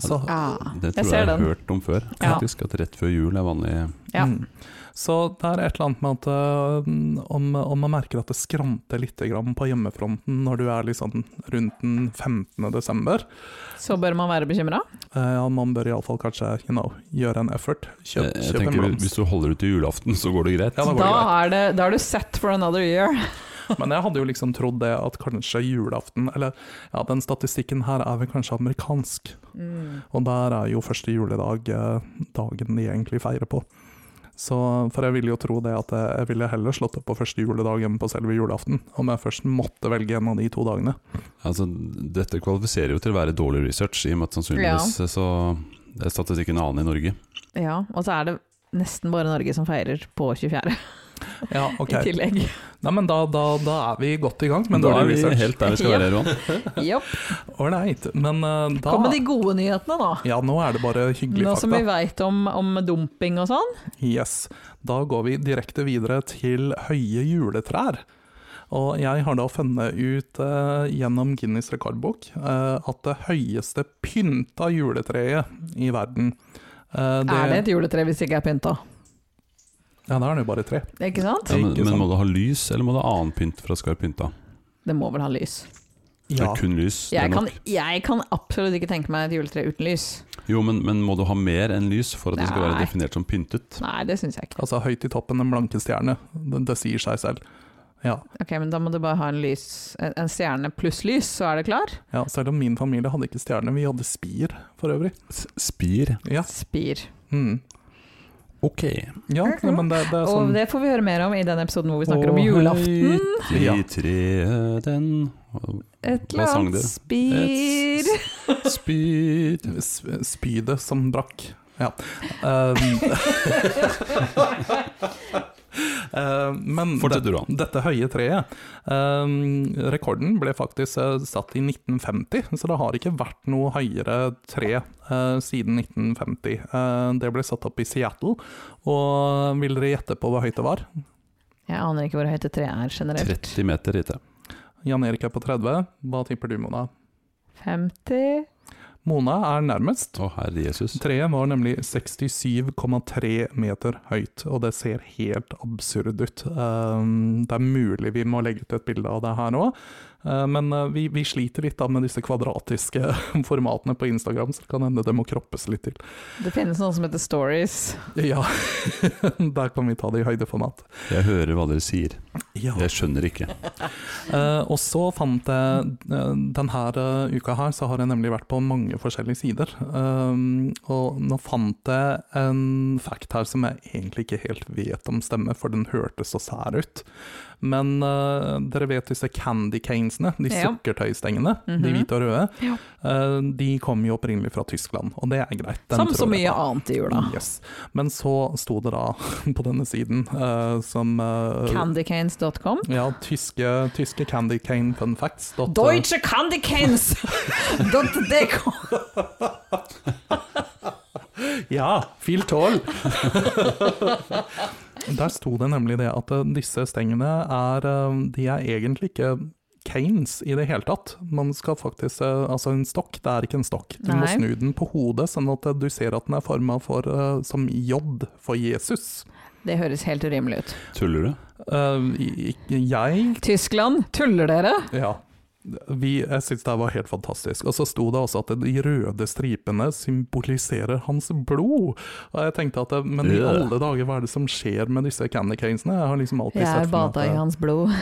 Speaker 3: Så,
Speaker 4: Ah,
Speaker 2: Det
Speaker 4: jeg
Speaker 2: tror jeg,
Speaker 4: ser
Speaker 2: jeg har
Speaker 4: den.
Speaker 2: hørt om før,
Speaker 4: Ja.
Speaker 2: faktisk. At rett før jul er vanlig.
Speaker 4: Ja.
Speaker 3: mm. så det er et eller annet med at eh, om, om man merker at det skranter litt grann på hjemmefronten når du er liksom rundt den 15. desember,
Speaker 4: Så bør man være bekymra.
Speaker 3: eh, ja, man bør iallfall kanskje you know, gjøre en effort.
Speaker 2: Jeg,
Speaker 3: Kjøp,
Speaker 2: jeg
Speaker 3: kjøp en
Speaker 2: tenker
Speaker 3: blomst.
Speaker 2: Hvis du holder ut til julaften, så går det greit.
Speaker 3: Ja, da går det greit.
Speaker 4: Da er, det, da er du set for another year.
Speaker 3: Men jeg hadde jo liksom trodd det at kanskje julaften Eller ja, den statistikken her er vel kanskje amerikansk.
Speaker 4: Mm.
Speaker 3: Og der er jo første juledag eh, dagen de egentlig feirer på. Så, for jeg ville jo tro det at jeg, jeg ville heller slått opp på første juledag enn på selve julaften, om jeg først måtte velge en av de to dagene.
Speaker 2: Altså, dette kvalifiserer jo til å være dårlig research, i og med at sannsynligvis så er statistikken en annen i Norge.
Speaker 4: Ja, og så er det nesten bare Norge som feirer på 24.
Speaker 3: Ja, ok.
Speaker 4: i tillegg.
Speaker 3: Nei, men da, da, da er vi godt i gang. Men
Speaker 2: da er vi
Speaker 3: research.
Speaker 2: helt der vi skal
Speaker 4: Ja.
Speaker 2: være, Roan.
Speaker 4: Jopp.
Speaker 3: Ålreit. Men eh, da
Speaker 4: Kom med de gode nyhetene nå.
Speaker 3: Ja, nå er det bare hyggelige
Speaker 4: Nå som
Speaker 3: fakta.
Speaker 4: vi veit om, om dumping og sånn.
Speaker 3: Yes. Da går vi direkte videre til høye juletrær. Og jeg har da funnet ut eh, gjennom Guinness rekordbok eh, at det høyeste pynta juletreet i verden eh,
Speaker 4: Er det et juletre hvis det ikke er pynta?
Speaker 3: Ja, da er det jo bare tre.
Speaker 4: Ikke sant?
Speaker 2: Ja, men,
Speaker 3: Ikke
Speaker 2: men
Speaker 3: sant.
Speaker 2: må du ha lys, eller må du ha annen pynt for å skal være pynta?
Speaker 4: Det må vel ha lys.
Speaker 2: Det
Speaker 3: Ja,
Speaker 2: er kun lys. Det er
Speaker 4: Jeg kan,
Speaker 2: nok.
Speaker 4: jeg kan absolutt ikke tenke meg et juletre uten lys.
Speaker 2: Jo, men, men må du ha mer enn lys for at det skal være
Speaker 4: Nei.
Speaker 2: definert som pyntet?
Speaker 4: Nei, det syns jeg ikke.
Speaker 3: altså høyt i toppen den blanke stjerne. Det, det sier seg selv. Ja,
Speaker 4: Ok, Men da må du bare ha en, lys, en en stjerne pluss lys, så er det klar.
Speaker 3: ja, selv om min familie hadde ikke stjerne, vi hadde spir for øvrig.
Speaker 2: S- Spir.
Speaker 3: Ja,
Speaker 4: Spir.
Speaker 3: mm.
Speaker 2: Ok.
Speaker 3: ja nei, men det, det er
Speaker 4: Og
Speaker 3: sånn
Speaker 4: det får vi høre mer om i den episoden hvor vi snakker om
Speaker 3: Å,
Speaker 4: julaften.
Speaker 2: I
Speaker 3: Ja.
Speaker 2: treet den
Speaker 4: Et
Speaker 2: Hva
Speaker 4: eller
Speaker 2: sang
Speaker 4: annet
Speaker 2: dere?
Speaker 4: spir.
Speaker 2: Spyr
Speaker 3: s- spydet som brakk. Ja. Um, Eh, men
Speaker 2: Fortsett,
Speaker 3: det-
Speaker 2: du, da.
Speaker 3: dette høye treet um, Rekorden ble faktisk eh, satt i 1950, så det har ikke vært noe høyere tre eh, siden 1950. Eh, det ble satt opp i Seattle, og vil dere gjette på hvor høyt det var?
Speaker 4: Jeg aner ikke hvor høyt et tre er generelt.
Speaker 2: 30 meter hit.
Speaker 3: Jan Erik er på 30. Hva tipper du, Mona?
Speaker 4: 50
Speaker 3: Mona er nærmest.
Speaker 2: Å, herre Jesus.
Speaker 3: Treet var nemlig 67,3 meter høyt, og det ser helt absurd ut. Um, det er mulig vi må legge ut et bilde av det her òg, men uh, vi, vi sliter litt da med disse kvadratiske formatene på Instagram, så det kan hende det må kroppes litt til.
Speaker 4: Det finnes noe som heter stories.
Speaker 3: Ja, der kan vi ta det i høydeformat.
Speaker 2: Jeg hører hva dere sier.
Speaker 3: Ja.
Speaker 2: Jeg skjønner ikke.
Speaker 3: Eh, og så fant jeg eh, denne uka her, så har jeg nemlig vært på mange forskjellige sider. Um, og nå fant jeg en fact her som jeg egentlig ikke helt vet om stemmer, for den hørtes så sær ut. Men eh, dere vet disse candy canesene, de
Speaker 4: Ja.
Speaker 3: sukkertøystengene, de
Speaker 4: Mhm.
Speaker 3: hvite og røde,
Speaker 4: Ja.
Speaker 3: eh, de kom jo opprinnelig fra Tyskland, og det er greit. Den
Speaker 4: Som
Speaker 3: tror
Speaker 4: så
Speaker 3: jeg
Speaker 4: mye
Speaker 3: på.
Speaker 4: annet i jula.
Speaker 3: Yes. Men så sto det da på denne siden eh, som eh,
Speaker 4: Candycanes.com.
Speaker 3: ja, tyske, tyske Candy Cane Fun Facts. dot- eh,
Speaker 4: Deutsche Candycanes! Dot DK.
Speaker 3: Ja, Phil Toll! Der sto det nemlig det at eh, disse stengene er eh, De er egentlig ikke canes i det hele tatt. Man skal faktisk, eh, altså En stokk det er ikke en stokk. Du må
Speaker 4: Nei.
Speaker 3: snu den på hodet, sånn at eh, du ser at den er forma for, eh, som J for Jesus.
Speaker 4: Det høres helt urimelig ut.
Speaker 2: Tuller du?
Speaker 3: Eh, i- ikke jeg
Speaker 4: Tyskland, tuller dere?
Speaker 3: Ja. Vi, jeg syns det her var helt fantastisk. Og så sto det også at de røde stripene symboliserer hans blod. Og jeg tenkte at eh, Men i
Speaker 2: Ja.
Speaker 3: alle dager, hva er det som skjer med disse candy canesene? Jeg har liksom alltid
Speaker 4: Jeg er
Speaker 3: sett for
Speaker 4: bada i
Speaker 3: meg at
Speaker 4: hans blod.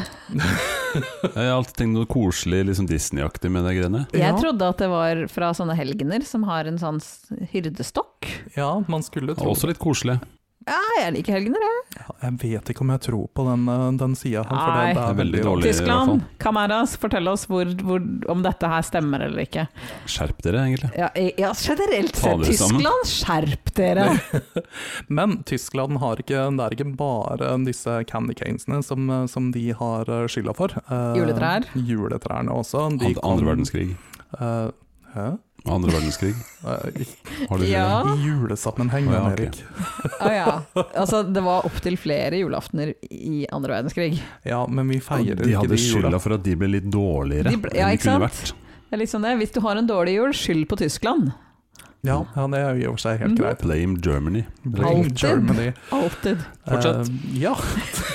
Speaker 2: Jeg har alltid tenkt noe koselig, liksom Disney-aktig med de greiene.
Speaker 3: Ja.
Speaker 4: Jeg trodde at det var fra sånne helgener som har en sånn s- hyrdestokk.
Speaker 3: Ja, man skulle tro
Speaker 2: Også litt koselig.
Speaker 4: Ja, jeg liker helgener, jeg.
Speaker 3: Ja, Jeg vet ikke om jeg tror på den, eh, den sida her, for det,
Speaker 4: Nei.
Speaker 3: det
Speaker 2: Det
Speaker 3: er veldig dårlig.
Speaker 2: i hvert
Speaker 4: Tyskland, Kamaras, fortell oss hvor, hvor, om dette her stemmer eller ikke.
Speaker 2: fall. Skjerp dere, egentlig.
Speaker 4: Ja, i- ja generelt
Speaker 2: Ta
Speaker 4: sett,
Speaker 2: dere sammen.
Speaker 4: Tyskland, skjerp dere!
Speaker 3: Men Tyskland har ikke Det er ikke bare disse candy canesene som, eh, som de har eh, skylda for. Eh,
Speaker 4: Juletrær.
Speaker 3: Juletrærne også. De
Speaker 2: Andre,
Speaker 3: kom-
Speaker 2: andre verdenskrig.
Speaker 3: eh, hæ?
Speaker 2: Andre verdenskrig.
Speaker 3: Eh,
Speaker 2: Har du
Speaker 4: Ja.
Speaker 3: I julesammenheng,
Speaker 2: Å, ja,
Speaker 3: Jan
Speaker 2: ok.
Speaker 3: Erik.
Speaker 4: Å ja. Altså, det var opptil flere julaftener i andre verdenskrig.
Speaker 3: Ja, men vi feirer
Speaker 2: De
Speaker 3: ikke
Speaker 2: hadde
Speaker 3: de jula.
Speaker 2: skylda for at de ble litt dårligere
Speaker 4: De ble- ja,
Speaker 2: enn de
Speaker 4: ikke
Speaker 2: kunne
Speaker 4: sant?
Speaker 2: vært.
Speaker 4: Det er liksom det. Hvis du har en dårlig jul, skyld på Tyskland.
Speaker 3: Ja, ja, det er jo i og for seg helt
Speaker 4: Mhm.
Speaker 3: greit.
Speaker 2: Blame Germany.
Speaker 3: Blame
Speaker 4: Alltid.
Speaker 3: Germany.
Speaker 4: Alltid.
Speaker 2: Fortsett.
Speaker 3: Eh, ja.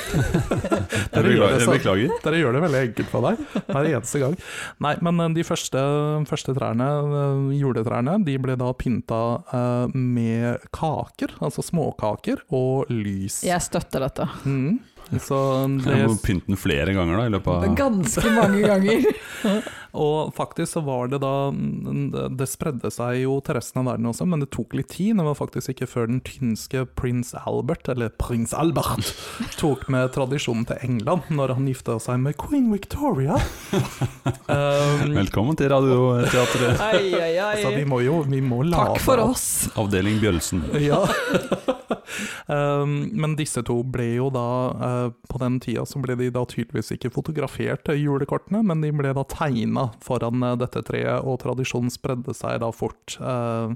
Speaker 2: Jeg
Speaker 3: Dere gjør
Speaker 2: beklager.
Speaker 3: det
Speaker 2: Jeg
Speaker 3: så-
Speaker 2: beklager.
Speaker 3: Dere gjør det veldig enkelt for deg hver eneste gang. Nei, men eh, de første, første trærne, eh, juletrærne, de ble da pynta eh, med kaker, altså småkaker, og lys.
Speaker 4: Jeg støtter dette.
Speaker 3: Mhm. Så
Speaker 2: Jeg må
Speaker 3: det,
Speaker 2: pynte den flere ganger da, i løpet av
Speaker 4: Ganske mange ganger.
Speaker 3: og faktisk så var det da mm, det- Det spredde seg jo til resten av verden også, men det tok litt tid. Det var faktisk ikke før den tynske prins Albert, eller prins Albert, tok med tradisjonen til England når han gifta seg med queen Victoria. Um,
Speaker 2: Velkommen til Radioteatret,
Speaker 4: Ai, ai,
Speaker 2: Altså,
Speaker 3: Så vi
Speaker 4: ai.
Speaker 3: må jo vi må lade
Speaker 4: Takk for
Speaker 3: opp.
Speaker 4: oss.
Speaker 2: avdeling Bjølsen.
Speaker 3: Ja. um, men disse to ble jo da eh, På den tida så ble de da tydeligvis ikke fotografert, eh, julekortene, men de ble da tegna foran eh, dette treet, og tradisjonen spredde seg da fort. Eh,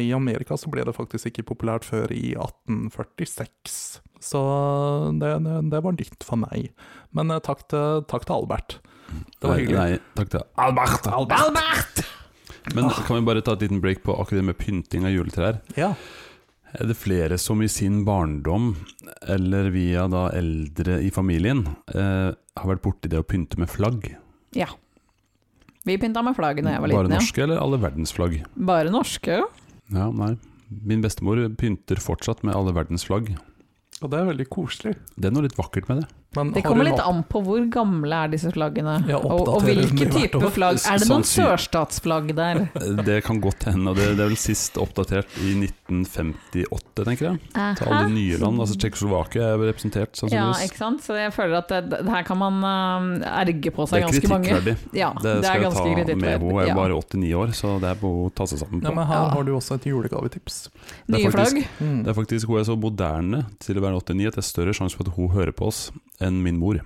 Speaker 3: I Amerika så ble det faktisk ikke populært før i 1846. Så eh, det, det, det var nytt for meg. Men eh, takk, til, takk til Albert. Det var
Speaker 2: Nei,
Speaker 3: hyggelig.
Speaker 2: nei, takk til Albert. Men kan vi bare ta et liten break på akkurat det med pynting av juletrær?
Speaker 3: Ja.
Speaker 2: Er det flere som i sin barndom, eller via da eldre i familien, eh, har vært borti det å pynte med flagg?
Speaker 4: Ja. Vi pynta med flagget da jeg var
Speaker 2: Bare
Speaker 4: liten.
Speaker 2: norske eller alle verdens flagg?
Speaker 4: Ja. Bare norske.
Speaker 2: Ja, nei. Min bestemor pynter fortsatt med alle verdens flagg.
Speaker 3: Og det er veldig koselig.
Speaker 2: Det er noe litt vakkert med det.
Speaker 3: Men
Speaker 4: Det
Speaker 3: har
Speaker 4: kommer
Speaker 3: du
Speaker 4: litt
Speaker 3: valgt-
Speaker 4: an på hvor gamle er disse flaggene.
Speaker 3: Ja,
Speaker 4: og, og
Speaker 3: oppdaterer
Speaker 4: hvilke
Speaker 3: den hvert
Speaker 4: type
Speaker 3: år.
Speaker 4: flagg. Er det noen
Speaker 2: Sannsyn-
Speaker 4: sørstatsflagg der?
Speaker 2: Eh, Det kan godt hende, og det, det er vel sist oppdatert i 1958, tenker jeg. Til alle de nye land, altså sånn Tsjekkoslovakia er representert
Speaker 4: Ja,
Speaker 2: sannsynligvis.
Speaker 4: ikke sant. Så jeg føler at det, det her kan man eh, erge på
Speaker 2: det
Speaker 4: seg
Speaker 2: er
Speaker 4: ganske mange.
Speaker 2: kritikkverdig.
Speaker 4: Ja,
Speaker 2: Det
Speaker 4: det er
Speaker 2: skal jeg
Speaker 4: ganske
Speaker 2: ta med
Speaker 4: kritikkverdig.
Speaker 2: henne. Jeg er
Speaker 4: Ja.
Speaker 2: bare 89 år, så det er på å ta seg sammen
Speaker 3: Ja,
Speaker 2: på.
Speaker 3: men her
Speaker 4: Ja.
Speaker 3: har du også et julegavetips.
Speaker 2: Det er
Speaker 4: Nye
Speaker 2: faktisk-
Speaker 4: flagg?
Speaker 3: Mm.
Speaker 2: Det er faktisk hun er så moderne til å være 89 at det er større sjanse for at hun hører på oss enn min mor.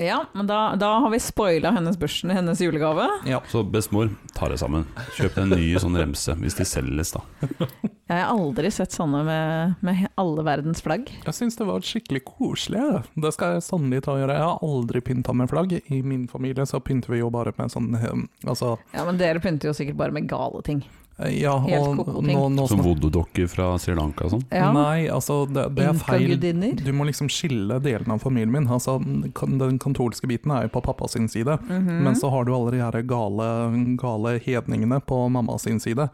Speaker 4: Ja, men da, da har vi spoila hennes børsen, hennes julegave.
Speaker 2: Så bestemor, ta det sammen. Kjøp deg en ny sånn remse, hvis de selges, da.
Speaker 4: Jeg har aldri sett sånne med, med alle verdens flagg.
Speaker 3: Jeg syns det var skikkelig koselig. jeg. Det skal jeg sannelig ta og gjøre. Jeg har aldri pynta med flagg. I min familie så pynter vi jo bare med sånn eh, Altså,
Speaker 4: Ja, Men dere pynter jo sikkert bare med gale ting.
Speaker 3: eh, ja
Speaker 4: Helt
Speaker 3: og
Speaker 4: koko ting.
Speaker 3: nå, nå
Speaker 2: Som
Speaker 3: snak-
Speaker 2: voodoo-dokker Sånn fra Sri Lanka og sånn.
Speaker 4: Ja.
Speaker 3: Nei, altså, det, det er feil.
Speaker 4: Inkagudinner.
Speaker 3: Du må liksom skille delene av familien min. Altså, kan- den katolske biten er jo på pappa sin side,
Speaker 4: Mhm.
Speaker 3: Mm-hmm. men så har du alle de her gale, gale hedningene på mamma sin side.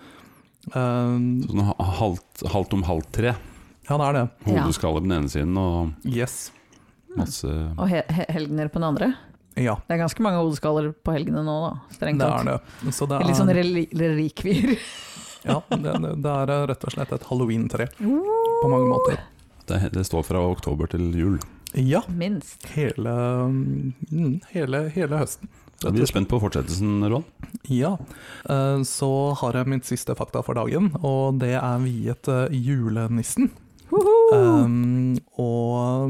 Speaker 3: Eh,
Speaker 2: Sånn ha- halvt, halvt om halvt tre.
Speaker 3: ja, det er det.
Speaker 2: Hodeskalle på den ene siden og
Speaker 3: Yes.
Speaker 2: masse
Speaker 4: Og he he helgener på den andre.
Speaker 3: Ja,
Speaker 4: Det er ganske mange hodeskaller på helgene nå, da.
Speaker 3: det
Speaker 4: Strengt
Speaker 3: er
Speaker 4: tatt.
Speaker 3: det. Så det
Speaker 4: Litt sånn
Speaker 3: er,
Speaker 4: reli- relikvier.
Speaker 3: ja, det, det, det er eh, rett og slett et halloween-tre på mange måter.
Speaker 2: det, det står fra oktober til jul.
Speaker 3: Ja,
Speaker 4: Minst.
Speaker 3: hele, mm, hele, hele høsten.
Speaker 2: Da blir jeg spent på fortsettelsen, Roan.
Speaker 3: Ja. Eh, Så har jeg mitt siste fakta for dagen, og det er viet eh, julenissen.
Speaker 4: Hoho!
Speaker 3: Um, og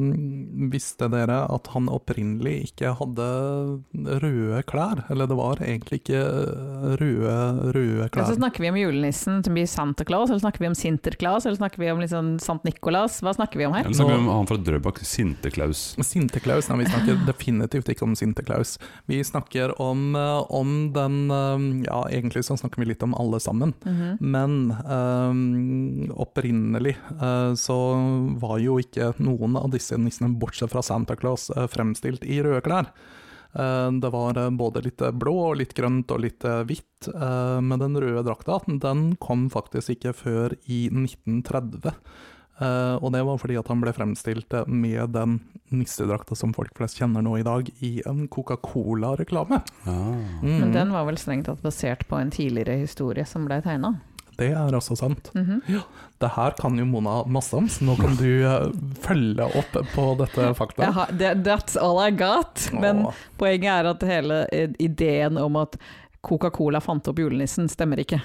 Speaker 3: visste dere at han opprinnelig ikke hadde røde klær? Eller det var egentlig ikke eh, røde, røde
Speaker 4: Ja,
Speaker 3: klær.
Speaker 4: så snakker vi om julenissen som blir Santa Claus, eller snakker vi om Sinterklaas, eller snakker vi om liksom Sant Nikolas? Hva snakker vi om her?
Speaker 2: Eller snakker vi om han fra Drøbak, Sinteklaus.
Speaker 3: Sinteklaus? Nei, vi snakker definitivt ikke om Sinteklaus. Vi snakker om, eh, om den eh, Ja, egentlig så snakker vi litt om alle sammen.
Speaker 4: Mhm.
Speaker 3: Men eh, opprinnelig eh, så var jo ikke noen av disse nissene, bortsett fra Santa Claus, eh, fremstilt i røde klær. Eh, det var eh, både litt eh, blå og litt grønt og litt eh, hvitt, eh, men den røde drakta den kom faktisk ikke før i 1930. Eh, og det var fordi at han ble fremstilt eh, med den nissedrakta som folk flest kjenner nå i dag, i en Coca-Cola-reklame.
Speaker 2: Ah.
Speaker 3: Mm.
Speaker 4: Men den var vel strengt tatt basert på en tidligere historie som ble tegna.
Speaker 3: Det er også sant.
Speaker 4: Mhm.
Speaker 3: Det her kan jo Mona masse om, så nå kan du eh, følge opp på dette fakta.
Speaker 4: Jeg har- det- That's all I got. Men
Speaker 3: Åh,
Speaker 4: poenget er at hele eh, ideen om at Coca-Cola fant opp julenissen, stemmer ikke.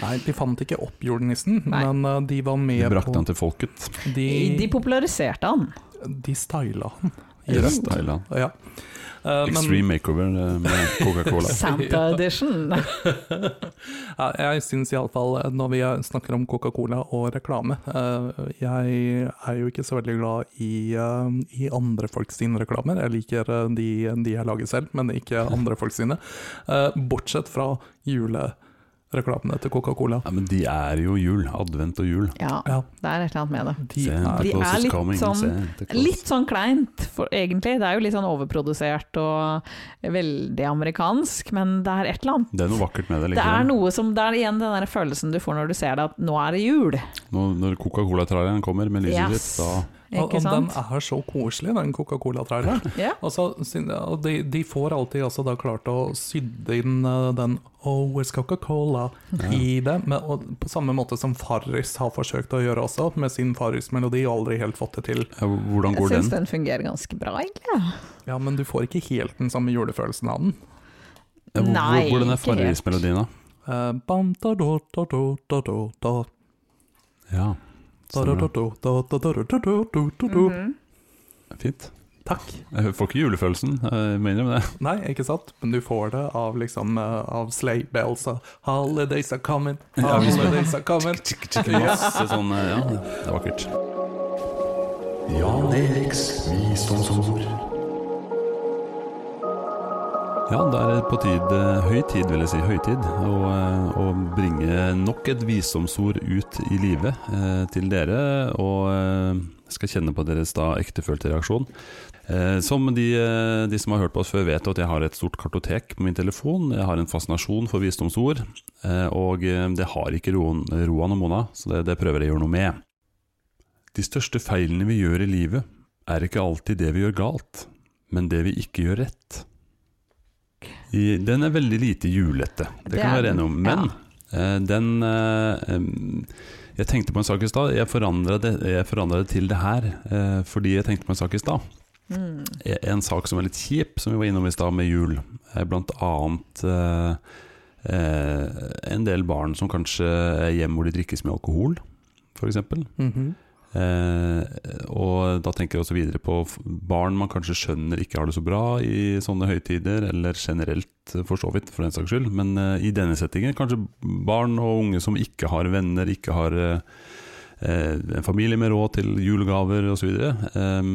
Speaker 3: Nei, de fant ikke opp julenissen,
Speaker 4: Nei.
Speaker 3: men eh, de var med
Speaker 2: De brakte
Speaker 3: på
Speaker 2: han til folket.
Speaker 4: De
Speaker 3: De,
Speaker 4: populariserte han.
Speaker 3: de styla han. i
Speaker 2: Yes,
Speaker 3: rødt.
Speaker 2: Thailand.
Speaker 3: Ja. Eh, men-
Speaker 2: Extreme makeover eh, med Coca-Cola.
Speaker 4: Santa edition.
Speaker 3: Ja, jeg syns iallfall, eh, når vi snakker om Coca-Cola og reklame eh, Jeg er jo ikke så veldig glad i, eh, i andre folk sine reklamer. Jeg liker eh, de, de jeg lager selv, men ikke andre folk sine. Eh, Bortsett fra julereklamene til Coca-Cola.
Speaker 2: Ja, men de er jo jul. Advent og jul.
Speaker 4: Ja,
Speaker 3: Ja,
Speaker 4: det er et eller annet med det.
Speaker 3: de er
Speaker 4: de
Speaker 2: Claus
Speaker 4: er
Speaker 2: is
Speaker 4: litt
Speaker 2: coming,
Speaker 4: sånn-
Speaker 2: Santa Claus.
Speaker 4: Litt sånn kleint, for, egentlig. Det er jo litt sånn overprodusert og veldig amerikansk, men det er et eller annet.
Speaker 2: Det er noe vakkert med det.
Speaker 4: Det er
Speaker 2: likevel.
Speaker 4: noe som, det er igjen den der følelsen du får når du ser det, at nå er det jul.
Speaker 2: Når, når Coca-Cola-tralleren kommer med lyset
Speaker 4: Yes.
Speaker 2: sitt, da
Speaker 3: og,
Speaker 4: Ikke
Speaker 3: og den
Speaker 4: sant?
Speaker 3: er så koselig, den Coca-Cola-traileren.
Speaker 4: Ja.
Speaker 3: Og så syn- Altså, og de, de får alltid også da klart å sydde inn eh, den Always Coca-Cola i det. Men, og på samme måte som Farris har forsøkt å gjøre også, med sin Farris-melodi, og aldri helt fått det til.
Speaker 2: ja, Hvordan
Speaker 4: Jeg
Speaker 2: går
Speaker 4: syns
Speaker 2: den?
Speaker 4: den fungerer ganske bra, egentlig.
Speaker 3: Ja, men du får ikke helt den samme julefølelsen av den.
Speaker 2: Ja, hvor- hvor-
Speaker 4: Nei,
Speaker 2: Hvordan er
Speaker 4: ikke helt.
Speaker 2: fargesmelodien, da?
Speaker 3: Eh, bam, da, da, da, da, da, da, da,
Speaker 2: Ja,
Speaker 3: da, da, da,
Speaker 2: stemmer.
Speaker 3: da, da, da, da, da, da, da, da,
Speaker 4: Mhm.
Speaker 3: da.
Speaker 2: Fint.
Speaker 3: Takk.
Speaker 2: Jeg får ikke julefølelsen, jeg må innrømme det.
Speaker 3: Nei, ikke sant? Men du får det av liksom eh, Av sleigh bells og Holidays are coming,
Speaker 2: Ja, hvis man-
Speaker 3: holidays are coming.
Speaker 2: Masse sånn eh, Ja, det er vakkert.
Speaker 1: Jan Eriks visdomsord.
Speaker 2: Ja, det er på tid, eh, høy tid, vil jeg si, høytid, å, eh, å bringe nok et visdomsord ut i livet eh, til dere, og eh, skal kjenne på deres da ektefølte reaksjon. Eh, som de, eh, de som har hørt på oss før vet jo at jeg har et stort kartotek på min telefon, jeg har en fascinasjon for visdomsord, eh, og eh, det har ikke Roan, Roan og Mona, så det, det prøver jeg å gjøre noe med. De største feilene vi gjør i livet, er ikke alltid det vi gjør galt, men det vi ikke gjør rett. I, den er veldig lite julete, det,
Speaker 4: Det
Speaker 2: kan vi
Speaker 4: er
Speaker 2: være
Speaker 4: den,
Speaker 2: enige om. Men eh, den eh, em, Jeg tenkte på en sak i stad. Jeg forandra det, jeg forandret det til det her eh, fordi jeg tenkte på en sak i stad.
Speaker 4: Mm.
Speaker 2: Eh, En sak som er litt kjip, som vi var innom i stad med jul. er Blant annet eh, eh, en del barn som kanskje er hjemme hvor de drikkes med alkohol, f.eks.
Speaker 3: Mhm.
Speaker 2: Eh, og da tenker jeg også videre på f- barn man kanskje skjønner ikke har det så bra i sånne høytider, eller generelt eh, for så vidt, for den saks skyld. Men eh, i denne settingen, kanskje barn og unge som ikke har venner, ikke har eh, eh, en familie med råd til julegaver osv. Eh,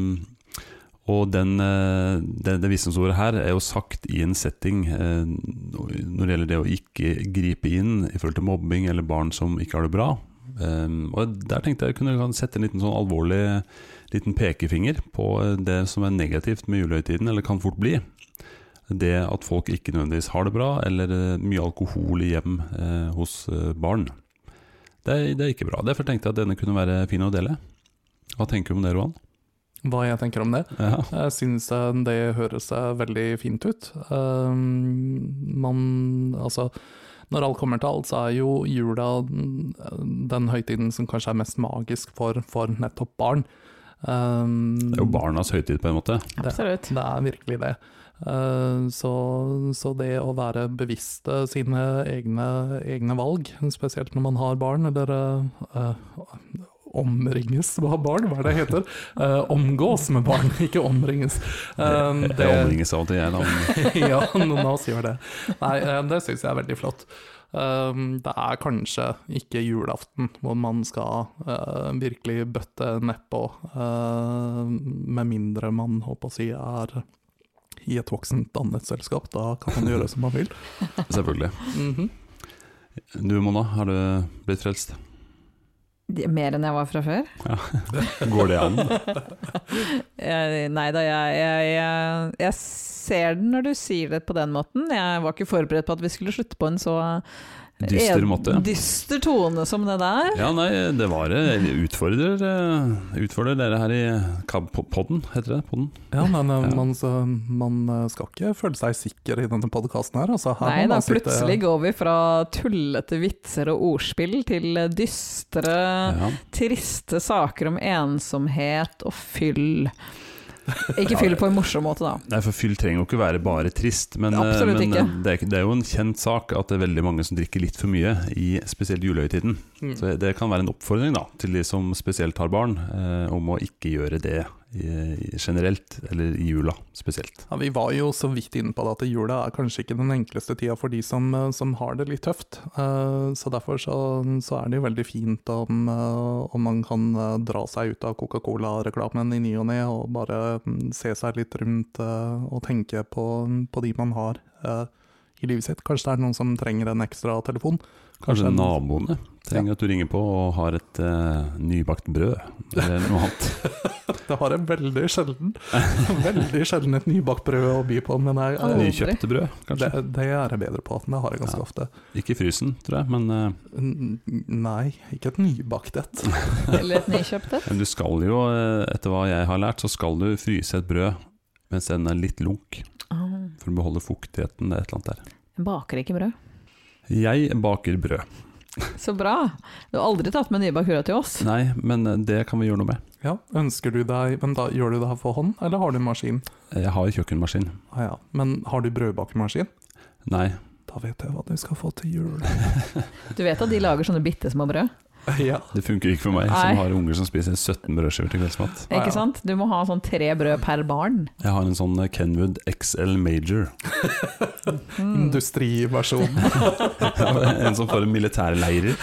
Speaker 2: og den, eh, det, det visdomsordet her er jo sagt i en setting eh, når det gjelder det å ikke gripe inn i forhold til mobbing eller barn som ikke har det bra. Um, og Der tenkte jeg kunne sette en liten sånn alvorlig liten pekefinger på eh, det som er negativt med julehøytiden, eller kan fort bli. Det at folk ikke nødvendigvis har det bra, eller eh, mye alkohol i hjem eh, hos eh, barn. Det er, det er ikke bra. Derfor tenkte jeg at denne kunne være fin å dele. Hva tenker du om det, Roan?
Speaker 3: Hva jeg tenker om det?
Speaker 2: Ja.
Speaker 3: Jeg syns eh, det høres eh, veldig fint ut. Eh, man Altså, når alt kommer til alt, så er jo jula den den høytiden som kanskje er mest magisk for, for nettopp barn. Eh,
Speaker 2: Det er jo barnas høytid, på en måte.
Speaker 4: Absolutt.
Speaker 3: Det er virkelig det. Eh, Så, så det å være bevisst eh, sine egne, egne valg, spesielt når man har barn, eller eh, eh, omringes med barn, hva er det det heter? Eh, omgås med barn, ikke omringes. Eh,
Speaker 2: Jeg- Jeg omringes av og til, jeg. da.
Speaker 3: ja, noen av oss gjør det. Nei, eh, det syns jeg er veldig flott. Um, Det er kanskje ikke julaften hvor man skal eh, virkelig bøtte nedpå, eh, med mindre man håper å si er i et voksent dannet selskap. Da kan man gjøre som man vil.
Speaker 2: Selvfølgelig.
Speaker 3: Mhm.
Speaker 2: Du Mona, har du blitt frelst?
Speaker 4: De- Mer enn jeg var fra før?
Speaker 2: Går det an?
Speaker 4: Eh, Nei da, jeg, jeg, jeg, jeg ser den når du sier det på den måten. Jeg var ikke forberedt på at vi skulle slutte på en så eh,
Speaker 2: Dyster måte.
Speaker 4: dyster tone som det der.
Speaker 2: Ja, nei, det var det. Utfordrer, eh, utfordrer dere her i Kab- podden, heter det? Podden?
Speaker 3: Ja, men eh,
Speaker 2: Ja.
Speaker 3: man, så- man eh, skal ikke føle seg sikker i denne podkasten her. Altså, her må
Speaker 4: Nei da,
Speaker 3: man sitte-
Speaker 4: plutselig går vi fra tullete vitser og ordspill til eh, dystre,
Speaker 2: Ja.
Speaker 4: triste saker om ensomhet og fyll. Ikke fyll på en morsom måte, da.
Speaker 2: Nei, for fyll trenger jo ikke være bare trist, men, eh,
Speaker 4: Absolutt
Speaker 2: men
Speaker 4: ikke.
Speaker 2: eh, det, er, ikke- det er jo en kjent sak at det er veldig mange som drikker litt for mye, i spesielt julehøytiden.
Speaker 3: Mm.
Speaker 2: Så det kan være en oppfordring da, til de som spesielt har barn, eh, om å ikke gjøre det i, i generelt, eller i jula spesielt.
Speaker 3: Ja, vi var jo så vidt inne på det at jula er kanskje ikke den enkleste tida for de som, eh, som har det litt tøft. Eh, Så derfor så, så er det jo veldig fint om, eh, om man kan eh, dra seg ut av Coca-Cola-reklamen i ny og ne, og bare mm, se seg litt rundt eh, og tenke på, på de man har eh, i livet sitt. Kanskje det er noen som trenger en ekstra telefon.
Speaker 2: Kanskje
Speaker 3: en-
Speaker 2: naboene trenger at du ringer på og har et eh, nybakt brød, eller noe annet.
Speaker 3: Det har jeg veldig sjelden. Veldig sjelden et nybakt brød å by på, men jeg,
Speaker 4: Aldri.
Speaker 2: Nykjøpte brød,
Speaker 3: det,
Speaker 2: kanskje.
Speaker 3: det er jeg bedre på. Det har jeg ganske
Speaker 2: Ja.
Speaker 3: ofte.
Speaker 2: Ikke i frysen, tror jeg, men eh,
Speaker 3: N- Nei, ikke et nybakt et.
Speaker 4: Eller et nykjøpt et.
Speaker 2: Men du skal jo, eh, etter hva jeg har lært, så skal du fryse et brød mens den er litt lunk,
Speaker 4: Ah,
Speaker 2: for å beholde fuktigheten det er et eller annet der.
Speaker 4: jeg baker ikke brød.
Speaker 2: Jeg baker brød.
Speaker 4: Så bra. Du har aldri tatt med nybakt brød til oss.
Speaker 2: Nei, men eh, det kan vi gjøre noe med.
Speaker 3: Ja, ønsker du deg Men da gjør du det her for hånd, eller har du maskin?
Speaker 2: Jeg har jo kjøkkenmaskin.
Speaker 3: Ah, ja. Men har du brødbakemaskin?
Speaker 2: Nei.
Speaker 3: Da vet jeg hva du skal få til jul.
Speaker 4: Du vet at de lager sånne bitte små brød?
Speaker 3: ja.
Speaker 2: Det funker ikke for meg,
Speaker 4: Nei.
Speaker 2: som har unger som spiser 17 brødskiver til kveldsmat.
Speaker 3: Ja, ja.
Speaker 4: Ikke sant? Du må ha sånn tre brød per barn.
Speaker 2: Jeg har en sånn eh, Kenwood XL Major.
Speaker 4: Mm.
Speaker 3: Industriversjon.
Speaker 2: en som får en militærleirer.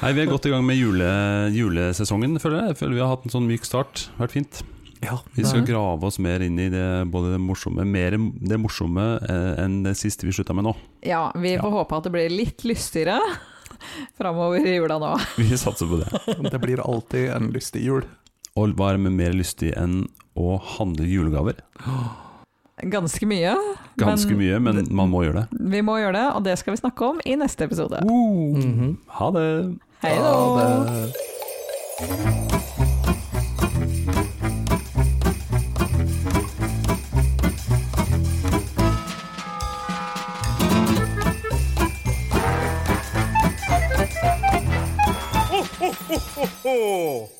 Speaker 2: Nei, vi er godt i gang med jule, julesesongen, føler jeg. jeg. Føler vi har hatt en sånn myk start. Vært fint.
Speaker 3: Ja,
Speaker 2: Vi skal grave oss mer inn i det, både det morsomme, mer det morsomme eh, enn det siste vi slutta med nå.
Speaker 4: Ja, vi får håpe at det blir litt lystigere framover i jula nå.
Speaker 2: Vi satser på det.
Speaker 3: det blir alltid en lystig jul.
Speaker 2: Og hva er mer lystig enn å handle julegaver?
Speaker 4: Ganske mye.
Speaker 2: Ganske
Speaker 4: Men-
Speaker 2: mye, men man må gjøre det.
Speaker 4: Vi må gjøre det, og det skal vi snakke om i neste episode.
Speaker 3: Mhm.
Speaker 2: Ha det!
Speaker 4: Hei da!
Speaker 3: Ja, det-
Speaker 5: ho, ho, ho, ho.